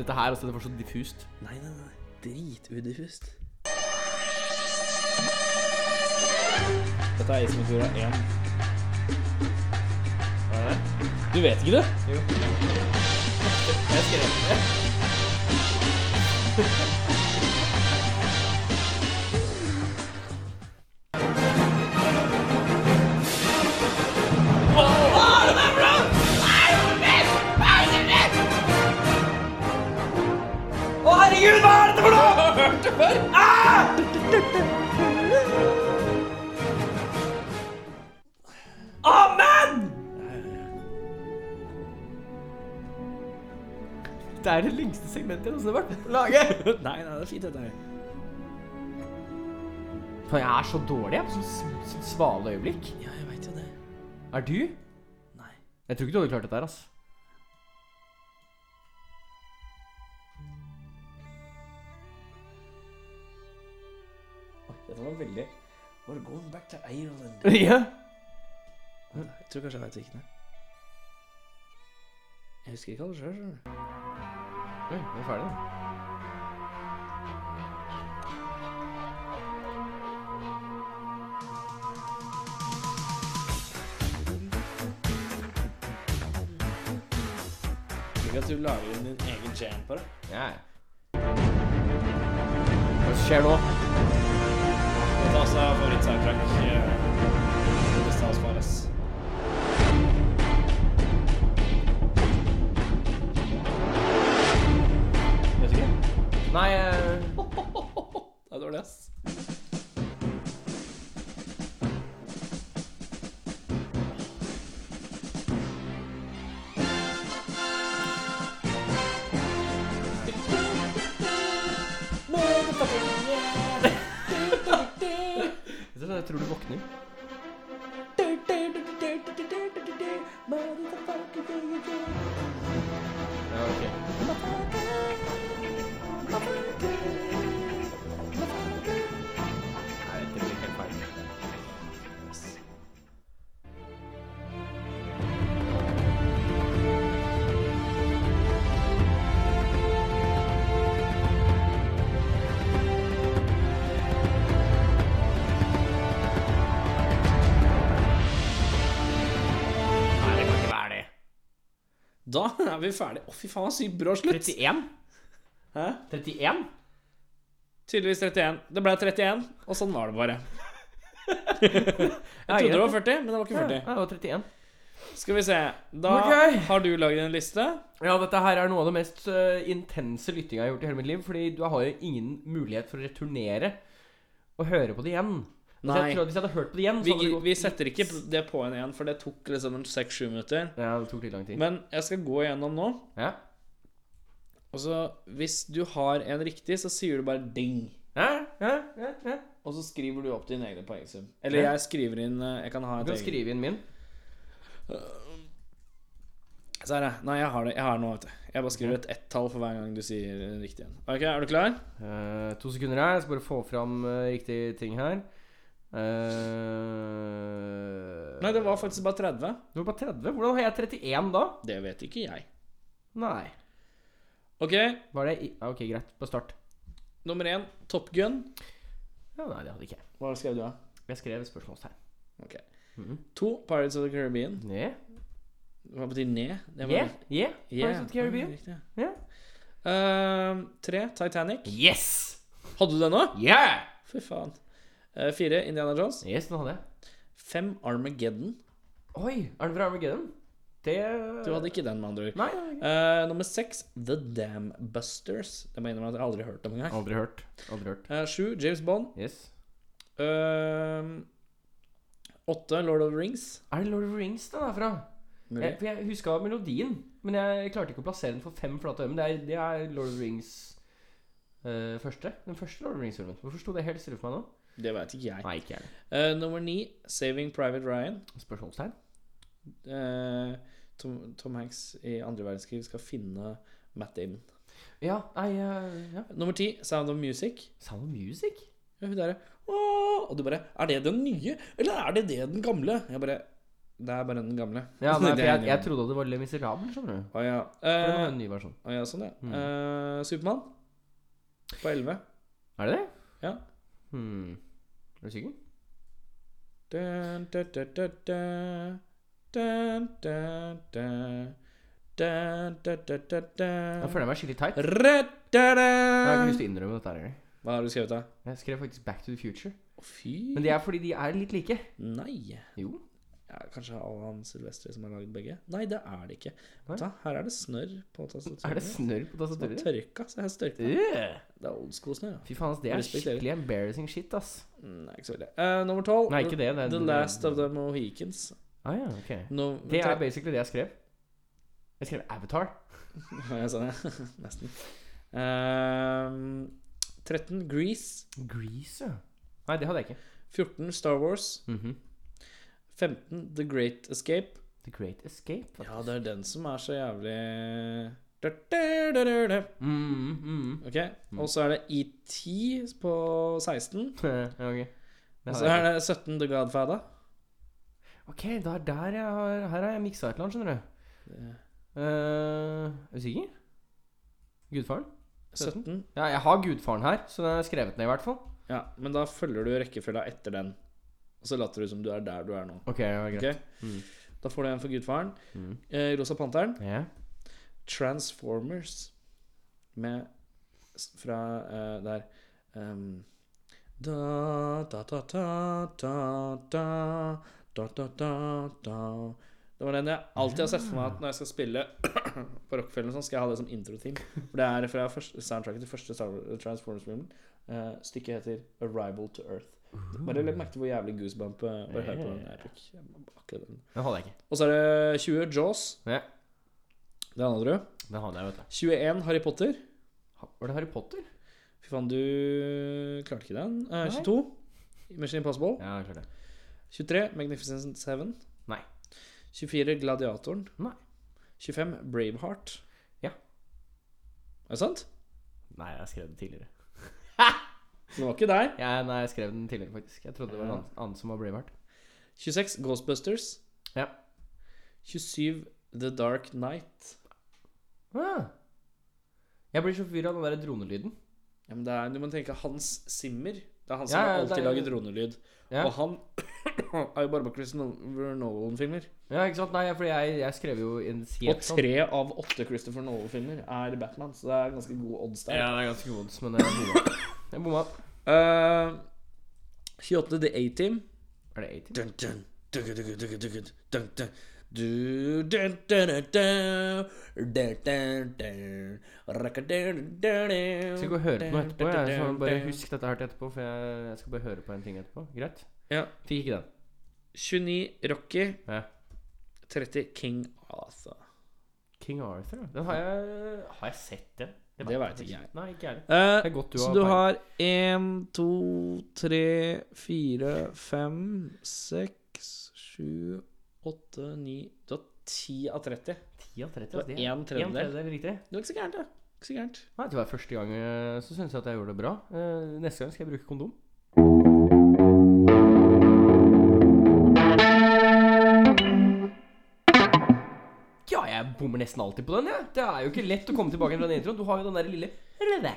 S2: Dette her altså, det var så diffust.
S11: Nei, nei, nei. Dritudiffust.
S10: Dette er Ace Ventura 1. Hva er det? Du vet ikke det? Jo. Jeg skrev det.
S2: Det er det lengste segmentet jeg noensinne har vært med på å lage.
S10: Nei, nei, det er fint dette her.
S2: For jeg er så dårlig jeg, på sånn s- sånn svale øyeblikk.
S11: Ja, jeg veit jo det.
S2: Er du?
S11: Nei.
S2: Jeg tror ikke du hadde klart dette her, ass.
S10: Oi, Dette var veldig...
S11: We're going back to Ireland.
S2: ja.
S11: Jeg tror kanskje jeg veit hvilken det er. Jeg husker ikke hva det sjøl.
S2: Oi, vi er ferdig da.
S10: Ikke at du lager din egen jam på det.
S2: Ja, ja. Hva skjer nå?
S10: Dette er altså favoritt-soundtrack. eh, Det stas for oss. Vet ikke.
S2: Nei, eh,
S10: Det er dårlig, ass.
S2: jeg tror- jeg tror du våkner. Ja, ok. Nei, det blir helt feil. Nei, det kan ikke være det.
S10: Da er vi ferdige. Å, fy faen, sykt brå slutt.
S2: 31?
S10: Hæ?
S2: 31?
S10: Tydeligvis 31. Det ble 31, og sånn var det bare. Jeg
S2: Nei,
S10: trodde det
S2: greit.
S10: var 40, men det var
S2: Ja,
S10: ikke
S2: det var 31.
S10: 40. Skal vi se. Da
S2: Ok.
S10: har du laget en liste.
S2: Ja, dette her er noe av det mest øh, intense lyttinga jeg har gjort i hele mitt liv. Fordi du har jo ingen mulighet for å returnere og høre på det igjen. Så
S10: Nei.
S2: jeg tror at Hvis jeg hadde hørt på det igjen, så
S10: Vi,
S2: hadde det gått
S10: vi setter ikke det på en igjen, for det tok liksom en 6-7 minutter.
S2: Ja, det tok litt lang tid.
S10: Men jeg skal gå igjennom nå.
S2: Ja.
S10: Og så hvis du har en riktig, så sier du bare ding.
S2: Ja, ja, ja, ja.
S10: Og så skriver du opp din egen poengsum. Eller
S2: Ja.
S10: jeg skriver inn eh, Jeg kan ha
S2: Du
S10: et
S2: kan
S10: eget.
S2: skrive inn min.
S10: Så her, er- Nei, jeg har det. Jeg har det nå, vet du. Jeg bare skriver et ett-tall for hver gang du sier eh, riktig igjen. Ok, er du klar?
S2: Eh, to sekunder her. Jeg skal bare få fram eh, riktig ting her. Eh,
S10: Nei, det var faktisk bare 30.
S2: Det var bare 30. Hvordan har jeg 31 da?
S10: Det vet ikke jeg.
S2: Nei.
S10: Ok,
S2: Var det i... ja, Ok, greit. Bare start.
S10: nummer én, Top Gun.
S2: Ja, nei, det hadde ikke jeg.
S10: Hva skrev du, da?
S2: Jeg skrev spørsmålstegn. Mhm.
S10: To, Pirates of the Caribbean.
S2: Yeah.
S10: Hva betyr ne? Det var-
S2: Yeah. Yeah.
S10: Yeah.
S2: Pirates of the Caribbean.
S10: Ja, riktig.
S2: Ja.
S10: Eh, tre, Titanic.
S2: Yes!
S10: Hadde du den nå?
S2: Yeah!
S10: Fy faen. Eh, fire, Indiana Jones.
S2: Yes, den hadde jeg.
S10: Fem, Armageddon.
S2: Oi, er det fra Armageddon? Det
S10: Du hadde ikke den, med andre ord.
S2: Nei, det hadde jeg ikke.
S10: Eh, nummer seks, The Dam Busters. Det må jeg innrømme at jeg aldri har hørt om engang.
S2: Aldri hørt. Aldri hørt.
S10: Eh, Sju, James Bond.
S2: Yes.
S10: Eh, Åtte, Lord of the Rings.
S2: Er det Lord of the Rings den er fra? Jeg,
S10: Mulig.
S2: for jeg huska melodien, men jeg klarte ikke å plassere den for fem flate øyne. men Det, er- det er Lord of the Rings eh, første. Den første Lord of the Rings-filmen. Hvorfor sto det helt stille for meg nå?
S10: Det veit ikke jeg.
S2: Nei, ikke jeg.
S10: Eh, nummer ni, Saving Private Ryan.
S2: Spørsmålstegn?
S10: Eh, Tom, Tom Hanks i andre verdenskrig skal finne Matt Damon.
S2: Ja, nei eh, ja.
S10: Nummer ti, Sound of Music.
S2: Sound of Music?
S10: Ja, hun der, Åh! Og du bare Er det den nye, eller er det det den gamle? Jeg bare Det er bare den gamle.
S3: Ja, nei, for
S10: Det er
S3: jeg,
S10: den
S3: jeg
S10: gamle.
S3: trodde det var Le Miserable, skjønner du.
S10: Å ja.
S3: For det var
S10: Eh,
S3: en ny versjon.
S10: å ja, sånn, ja.
S3: Mm.
S10: Eh, Supermann på 11.
S3: Er det det?
S10: Ja.
S3: Hmm. Er du sikker?
S10: Dun, dun, dun, dun, dun. Dun, dun, dun. Dun, dun, dun, dun, dun.
S3: Jeg føler meg skikkelig tight. Jeg har ikke
S10: Ra-da-da.
S3: lyst til å innrømme dette her engang.
S10: Hva har du skrevet, da?
S3: Jeg skrev faktisk Back to the Future.
S10: Å, fy
S3: Men det er fordi de er litt like.
S10: Nei.
S3: Jo.
S10: Ja, kanskje Alan Silvestri som har lagd begge? Nei, det er det ikke.
S3: Nei.
S10: Ta, her er det snørr på tastaturet.
S3: Eh, Er det snørr på
S10: Det
S3: tastaturet?
S10: er tørka, så jeg har størka.
S3: Øh.
S10: Det er old school snø. ja.
S3: Fy faen, ass, det er
S10: Respekterer.
S3: skikkelig embarrassing shit, ass.
S10: Nei, ikke så veldig. Eh, nummer tolv.
S3: Nei, ikke det. det Oh, er,
S10: The Last of the Mohicans.
S3: Ah, ja, ok.
S10: No,
S3: Det er basically det jeg skrev. Jeg skrev Avatar.
S10: Ja, jeg sa det. Nesten. Ehm, 13. Grease.
S3: Grease, ja. Nei, det hadde jeg ikke.
S10: 14. Star Wars.
S3: Mhm.
S10: 15. The Great Escape.
S3: The Great Escape. faktisk.
S10: Ja, det er den som er så jævlig Da, da, da, da, da.
S3: Mm, mm,
S10: Ok, Og så er det ET på 16.
S3: mm. ja, ok. Det
S10: Og så
S3: hadde jeg
S10: er det 17. The Godfather.
S3: ikke. Ok, det er der jeg har Her har jeg miksa et eller annet, skjønner du. Eh, er du sikker? Gudfaren?
S10: 17.
S3: Ja, jeg har Gudfaren her, så den er skrevet ned, i hvert fall.
S10: Ja, Men da følger du rekkefølga etter den. Og så later du som du er der du er nå.
S3: Ok, ja, greit.
S10: Ok?
S3: Mm.
S10: Da får du en for Gudfaren.
S3: Mm.
S10: Eh, Rosa Panteren.
S3: Ja.
S10: Transformers med s- fra eh, der ehm, da, da, da, da, da, da, da, da, da, da. Det var den jeg alltid har sett for meg at når jeg skal spille på Rockefeller, og sånn, skal jeg ha det som introteam. For det er fra første, soundtracket til første Star- Transformers-filmen. Eh, stykket heter 'Arrival to Earth'.
S3: Uh-huh.
S10: Bare legg merke til hvor jævlig goosebump eh, bare hør på den. Jeg fikk jeg må- akkurat den.
S3: Den hadde jeg ikke.
S10: Og så er det 20 Jaws.
S3: Ja.
S10: Det hadde du.
S3: Den hadde jeg, vet du.
S10: 21 Harry Potter.
S3: Ha- Var det Harry Potter?
S10: Fy faen, du klarte ikke den. Eh, 22 Mission Impossible.
S3: Ja, klart det.
S10: 23 Magnificent Seven.
S3: Nei.
S10: 24 Gladiatoren.
S3: Nei.
S10: 25 Braveheart.
S3: Ja.
S10: Er det sant?
S3: Nei, jeg skrev den tidligere.
S10: Det var ikke deg.
S3: Ja, nei, jeg skrev den tidligere, faktisk. Jeg trodde det var en annen, annen som var Braveheart.
S10: 26 Ghostbusters.
S3: Ja.
S10: 27 The Dark Night.
S3: Ah. Jeg blir så forvirra av den der dronelyden.
S10: Ja, men det er, du må tenke Hans Zimmer. Det er han
S3: Ja,
S10: som
S3: ja,
S10: har
S3: det
S10: alltid
S3: er-
S10: lager dronelyd.
S3: Ja.
S10: Og han er jo bare på Christopher Nolan-filmer.
S3: Ja, ikke sant? Nei, fordi jeg, jeg skrev jo en
S10: Og
S3: helt sånn.
S10: tre av åtte Christopher Nolan-filmer er Batman, så det er ganske god odds der.
S3: Ja, det er ganske god odds, men jeg bomma. Jeg bomma.
S10: Eh, 28 The A-Team.
S3: Er det 80?
S10: Dun, dun, dun, dun, dun, dun, dun, dun, dun. Du, dun, dun, dun, dun. Dun, dun, dun. Rakka, dun, dun, dun.
S3: Skal vi gå og høre på noe etterpå? Jeg
S10: Dun,
S3: så
S10: dun,
S3: bare
S10: dun.
S3: Husk dette her til etterpå, for jeg, jeg skal bare høre på en ting etterpå. Greit?
S10: Ja.
S3: Fikk ikke den.
S10: 29 Rocky.
S3: Ja.
S10: 30 King Arthur.
S3: King Arthur, ja. Den har jeg Har jeg sett den?
S10: Det
S3: vet
S10: vet ikke jeg.
S3: Nei, ikke jeg heller.
S10: Eh,
S3: Det er godt du
S10: så
S3: har
S10: du
S3: peiling.
S10: har 1, 2, 3, 4, 5, 6, 7, 8, 9 Du har 10 av 30.
S3: 10 av 30,
S10: Det var
S3: altså, det er
S10: en tredjedel.
S3: en tredjedel riktig.
S10: Det var ikke så gærent, da. Ikke så gærent.
S3: Nei, det var første gang eh, så syns jeg at jeg gjorde det bra. Eh, Neste gang skal jeg bruke kondom. Ja, jeg bommer nesten alltid på den, jeg. Det er jo ikke lett å komme tilbake fra den introen. Du har jo den der lille røde.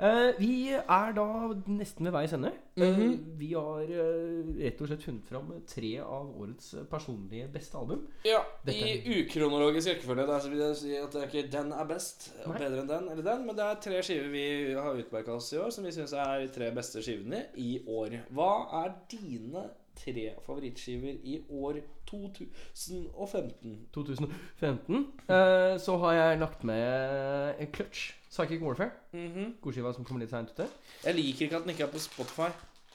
S3: Eh, vi er da nesten ved veis ende. Eh,
S10: Mhm.
S3: vi har eh, rett og slett funnet fram tre av årets eh, personlige beste album.
S10: Ja,
S3: Dette er-
S10: i ukronologisk rekkefølge. Der så vil jeg si at det er ikke den er best, og
S3: Nei.
S10: bedre enn den eller den, men det er tre skiver vi har utmerka oss i år, som vi syns er de tre beste skivene i år. Hva er dine tre favorittskiver i år 2015?
S3: 2015 eh, så har jeg lagt med eh, Clutch, Psychic Warfare.
S10: Mhm.
S3: Godskiva som kommer litt seint ute.
S10: Jeg liker ikke at den ikke er på Spotify.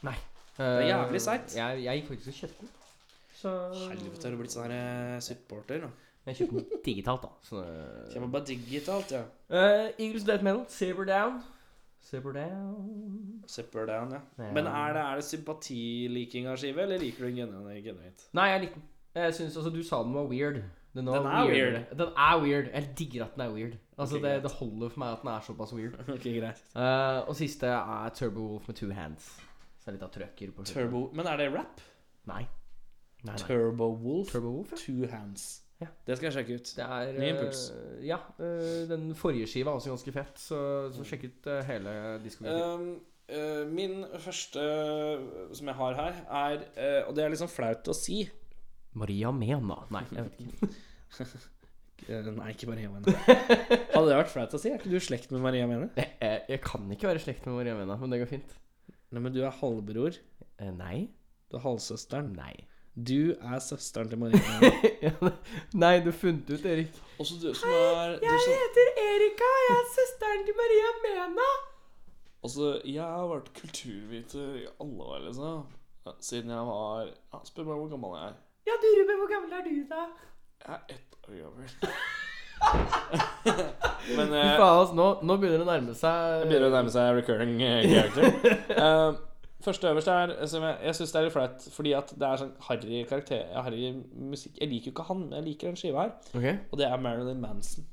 S3: Nei.
S10: er
S3: Eh,
S10: jævlig seigt.
S3: Jeg, jeg gikk faktisk og kjøpte den. Så
S10: Helvete, har du blitt sånn her eh, supporter nå?
S3: Jeg kjøpte den digitalt, da. Så,
S10: Jeg må bare digitalt, ja.
S3: Eh, Eagles Death Metal, Saber Down. Saber Down
S10: Supper down, ja.
S3: Ja.
S10: Men er det, er det sympatiliking av skive, eller liker du den genuint? genuint?
S3: Nei, jeg likte den. Jeg synes, altså, Du sa den var weird. Den, var
S10: Den er
S3: weirdere.
S10: weird.
S3: Den er weird. Jeg digger at den er weird. Altså,
S10: Ok,
S3: det,
S10: greit.
S3: det holder for meg at den er såpass weird.
S10: Ok, greit.
S3: Eh, og siste er Turbo Wolf med Two Hands. Så det er litt av trøkker på slutten.
S10: Turbo Men er det rap?
S3: Nei. Nei, nei.
S10: Turbo Wolf,
S3: Turbo Wolf, ja.
S10: Two Hands.
S3: Ja.
S10: Det skal jeg sjekke ut.
S3: Det er
S10: Ny
S3: eh,
S10: impuls.
S3: Ja. eh, den forrige skiva er også ganske fett, så, så sjekk ut eh, hele diskografien.
S10: Um, eh, min første eh, som jeg har her, er eh, Og det er liksom flaut å si.
S3: Maria Mena. Nei, jeg vet ikke.
S10: Eh, nei, ikke Maria Mene. Hadde det vært flaut å si? Er ikke du i slekt med Maria Mene?
S3: Jeg, jeg, jeg kan ikke være i slekt med Maria Mena, men det går fint.
S10: Nei, men du er halvbror.
S3: Eh, nei.
S10: Du er halvsøsteren.
S3: Nei.
S10: Du er søsteren til Maria Mene.
S3: nei, du funnet ut, Erik.
S1: Også du som er du som,
S3: heter Erika, jeg er søsteren til Maria Mena.
S1: Altså, jeg har vært kulturviter i alle år, liksom. Ja, Siden jeg var ja, Spør meg hvor gammel jeg er.
S3: Ja, du Ruben, hvor gammel er du, da?
S1: Jeg er ett år gammel. Men
S3: Fy
S1: eh,
S3: faen, altså, nå, nå begynner det å nærme
S1: Det
S3: seg
S1: begynner å nærme seg recurring eh, character. Eh, første øverst er som jeg, jeg syns det er litt flaut, fordi at det er sånn harry karakter Harry musikk Jeg liker jo ikke han, men jeg liker den skiva her.
S3: Ok.
S1: Og det er Marilyn Manson.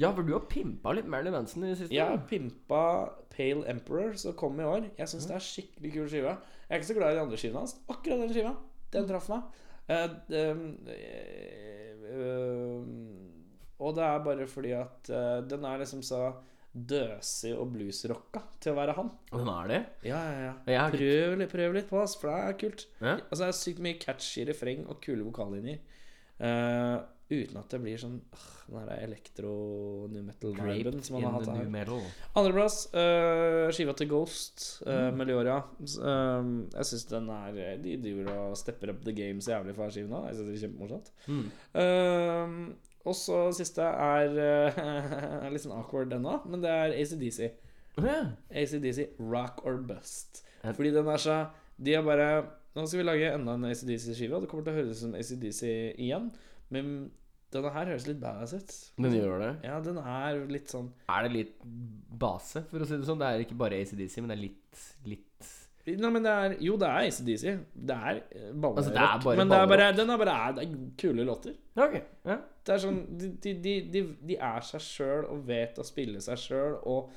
S3: Ja, for du har pimpa litt Marilyn Manson i det siste.
S10: Jeg har pimpa Pale Emperor, som kom i år. Jeg syns det er skikkelig kul skive. Jeg er ikke så glad i de andre skivene hans. Akkurat den skiva. Den traff meg. Eh, det- eh, eh, og det er bare fordi at eh, den er liksom så døsig og bluesrocka til å være han.
S3: Hvem er det?
S10: Ja, ja,
S3: Jeg
S10: ja.
S3: er litt-
S10: Prøv litt, prøv litt på oss, for det er kult.
S3: Ja.
S10: Altså, det er sykt mye catchy refreng og kule vokallinjer. eh, uten at det blir sånn uh, den der elektro-new metal-viben som han har hatt her.
S3: metal.
S10: Andreplass, uh, skiva til Ghost,
S3: Mm.
S10: uh, Melioria. S- ehm, jeg syns den er eh, De driver og stepper up the game så jævlig for skiven nå. Jeg synes det er kjempemorsomt.
S3: Mm.
S10: Ehm, og så siste er eh, er litt sånn awkward ennå, men det er ACDC.
S3: Ja.
S10: ACDC Rock or Bust.
S3: Jeg-
S10: Fordi den er så De er bare Nå skal vi lage enda en ACDC-skive, og det kommer til å høres ut som ACDC igjen. Men denne her høres litt badass ut.
S3: Den gjør det.
S10: Ja, den er litt sånn
S3: Er det litt base, for å si det sånn? Det er ikke bare ACDC, men det er litt, litt
S10: Nei, men det er, jo, det er ACDC. Det er eh, ballerock.
S3: Altså, det er bare
S10: men det er bare,
S3: ballerock.
S10: den er bare det er kule låter.
S3: Ja, ok. Ja.
S10: Det er sånn, De, de, de, de, de er seg sjøl og vet å spille seg sjøl. Og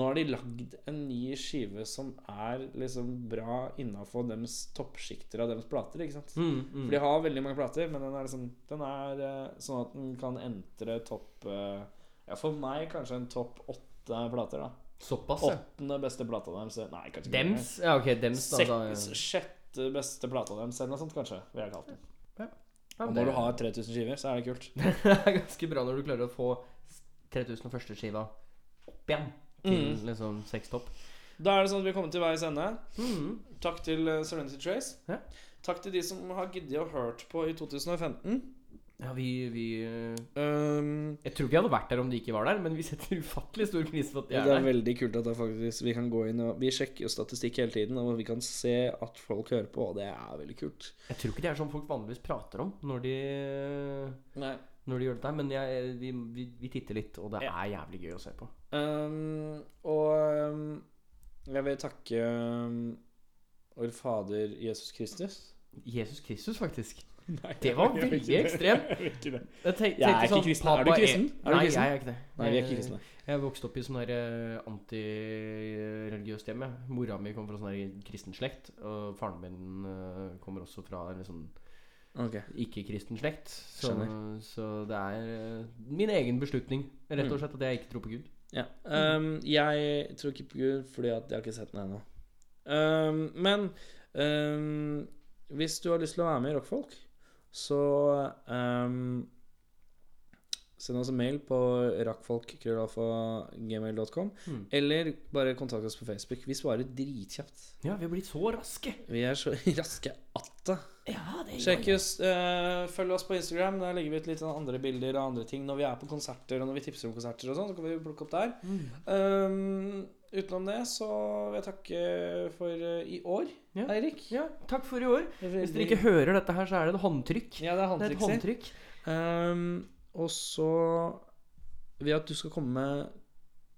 S10: nå har de lagd en ny skive som er liksom bra innafor deres toppsjikter av deres plater. ikke sant?
S3: Mm, mm.
S10: For de har veldig mange plater, men den er liksom Den er eh, sånn at den kan entre topp eh, Ja, for meg kanskje en topp åtte plater, da.
S3: Såpass, ja.
S10: Åttende beste plata deres. Nei, kanskje ikke
S3: Dems? Ja, ok, dems, da. da.
S10: Seks, sjette beste plata deres, eller noe sånt, kanskje. Vil jeg kalt den.
S3: Ja,
S10: Og
S3: det-
S10: når du har 3000 skiver, så er det kult.
S3: Det er ganske bra når du klarer å få 3001. skiva opp igjen til liksom seks topp.
S10: Mm. Da er det sånn at vi er kommet til veis ende.
S3: Mm.
S10: Takk til eh, Serenity Trace.
S3: Ja.
S10: Takk til de som har giddet å hørt på i 2015.
S3: Ja, vi, vi eh,
S10: Um,
S3: Jeg tror ikke jeg hadde vært der om de ikke var der, men vi setter ufattelig stor pris på at de
S10: det
S3: er
S10: er
S3: der.
S10: veldig kult at det faktisk, vi kan gå inn og Vi sjekker jo statistikk hele tiden, og vi kan se at folk hører på, og det er veldig kult.
S3: Jeg tror ikke det er sånn folk vanligvis prater om når de, eh,
S10: Nei.
S3: når de gjør dette, her, men jeg, vi, vi, vi titter litt, og det
S10: Ja.
S3: er jævlig gøy å se på.
S10: Um, og um, jeg vil takke um, vår Fader Jesus Kristus.
S3: Jesus Kristus, faktisk.
S10: Nei,
S3: Det var
S10: jeg vil
S3: veldig
S10: ikke det.
S3: ekstremt.
S10: Jeg vil ikke det.
S3: Jeg tenk,
S10: Jeg er
S3: tenkte
S10: ikke kristen. Er du
S3: Papa
S10: kristen? Er du
S3: Nei,
S10: kristen?
S3: jeg er ikke det.
S10: Nei, vi er ikke kristne.
S3: Jeg vokste opp i sånn her eh, antireligiøst hjem. jeg. Mora mi kom fra sånn her kristen slekt. Og faren min eh, kommer også fra en sånn
S10: Ok.
S3: eh, ikke-kristen slekt. Så,
S10: Skjønner.
S3: så det er eh, min egen beslutning, rett og slett, at jeg ikke tror på Gud.
S10: Ja. Um, jeg tror ikke på Gud, fordi at jeg har ikke sett den ennå. Um, men um, hvis du har lyst til å være med i Rockfolk, så um, Send oss en mail på rakkfolk.gmail.com.
S3: Mm.
S10: Eller bare kontakt oss på Facebook. Vi svarer dritkjapt.
S3: Ja, vi har blitt så raske!
S10: Vi er så raske at det.
S3: Ja, det
S10: Sjekk oss, eh, følg oss på Instagram. Der legger vi ut litt sånn andre bilder og andre ting når vi er på konserter og når vi tipser om konserter og sånn. Så kan vi plukke opp der.
S3: Mm.
S10: Um, utenom det så vil jeg takke for eh, i år,
S3: Ja.
S10: Eirik.
S3: Ja, takk for i år. Hvis dere ikke hører dette her, så er det et håndtrykk.
S10: Ja, det er
S3: Det er et
S10: håndtrykk.
S3: håndtrykk.
S10: Um, og så vil jeg at du skal komme med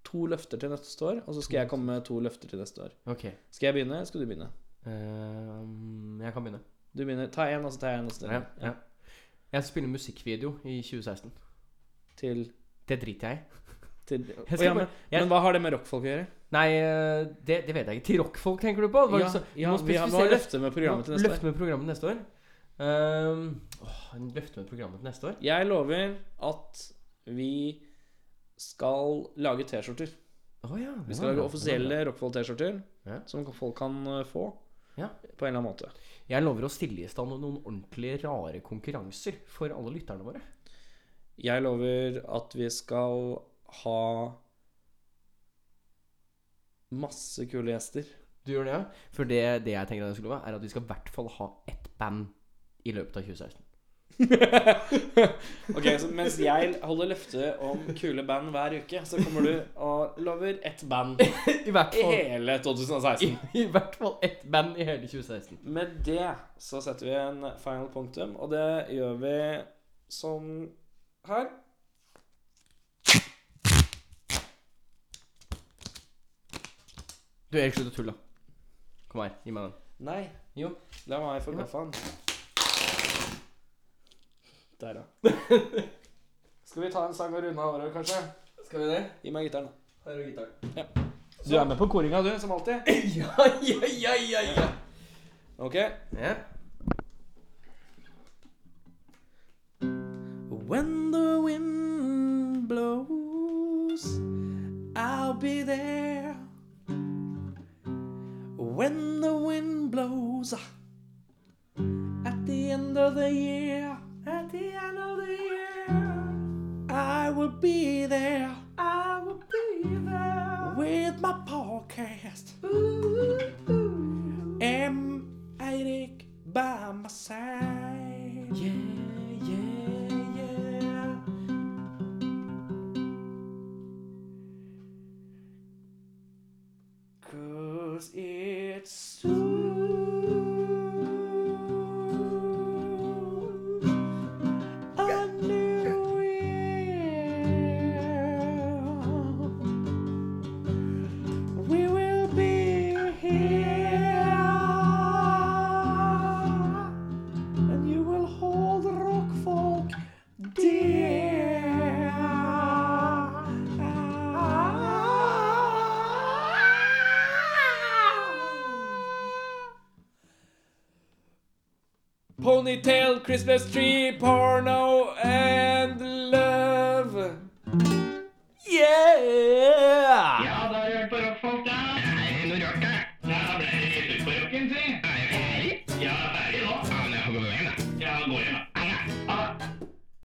S10: to løfter til neste år, og så skal
S3: Mm.
S10: jeg komme med to løfter til neste år.
S3: Ok.
S10: Skal jeg begynne? Skal du begynne?
S3: Ehm, jeg kan begynne.
S10: Du begynner. Ta én, og så tar jeg én. og så tar
S3: Ja,
S10: jeg en.
S3: ja. Jeg spiller musikkvideo i 2016.
S10: Til,
S3: Det driter jeg i.
S10: til
S3: Jeg
S10: Å,
S3: skal
S10: ja, men,
S3: bare- jeg-
S10: men hva har det med rockfolk å gjøre?
S3: Nei, eh, det, det vet jeg ikke. Til rockfolk tenker du på? Det var
S10: Ja,
S3: liksom-
S10: ja
S3: må
S10: vi har, vi har
S3: spesifisere-
S10: løfte med programmet til neste år.
S3: Løfte med programmet neste år. Um, åh, en løfte med programmet til neste år.
S10: Jeg lover at vi skal lage T-skjorter.
S3: Å ja,
S10: Vi skal lage offisielle Rockfold-T-skjorter
S3: Ja.
S10: som folk kan eh, få.
S3: Ja.
S10: På en eller annen måte.
S3: Jeg lover å stille i stand noen ordentlig rare konkurranser for alle lytterne våre.
S10: Jeg lover at vi skal ha masse kule gjester.
S3: Du gjør det, ja? For det, det jeg tenker at jeg skal love, er at vi skal i hvert fall ha ett band i løpet av 2016.
S10: ok, så Mens jeg holder løftet om kule band hver uke, så kommer du og lover ett band i
S3: I hvert fall,
S10: hele 2016.
S3: i, i hvert fall ett band i hele 2016.
S10: Med det så setter vi en final punktum, og det gjør vi som her.
S3: Du, Erik, slutt å tulle. Kom her, gi meg den.
S10: Nei.
S3: Jo.
S10: La meg få
S3: Jo.
S10: kaffen. Der, ja. Skal vi ta en sang og runde av året, kanskje?
S3: Skal vi det?
S10: Gi meg gitaren. da.
S3: Her er gitaren.
S10: Du er med på koringa, du, som alltid.
S3: Ja, ja, ja, ja, ja.
S10: Ok.
S3: ja.
S1: When the wind blows, I'll be there. When the wind blows, at the end of the year, at the end of the year, I will be there. I will be there with my podcast. And Eric by my side. Yeah, yeah, yeah. Cause it's soon a new year. We will be here, and you will hold rock folk dear.
S10: Ponytail, Christmas tree, porno and love. Yeah!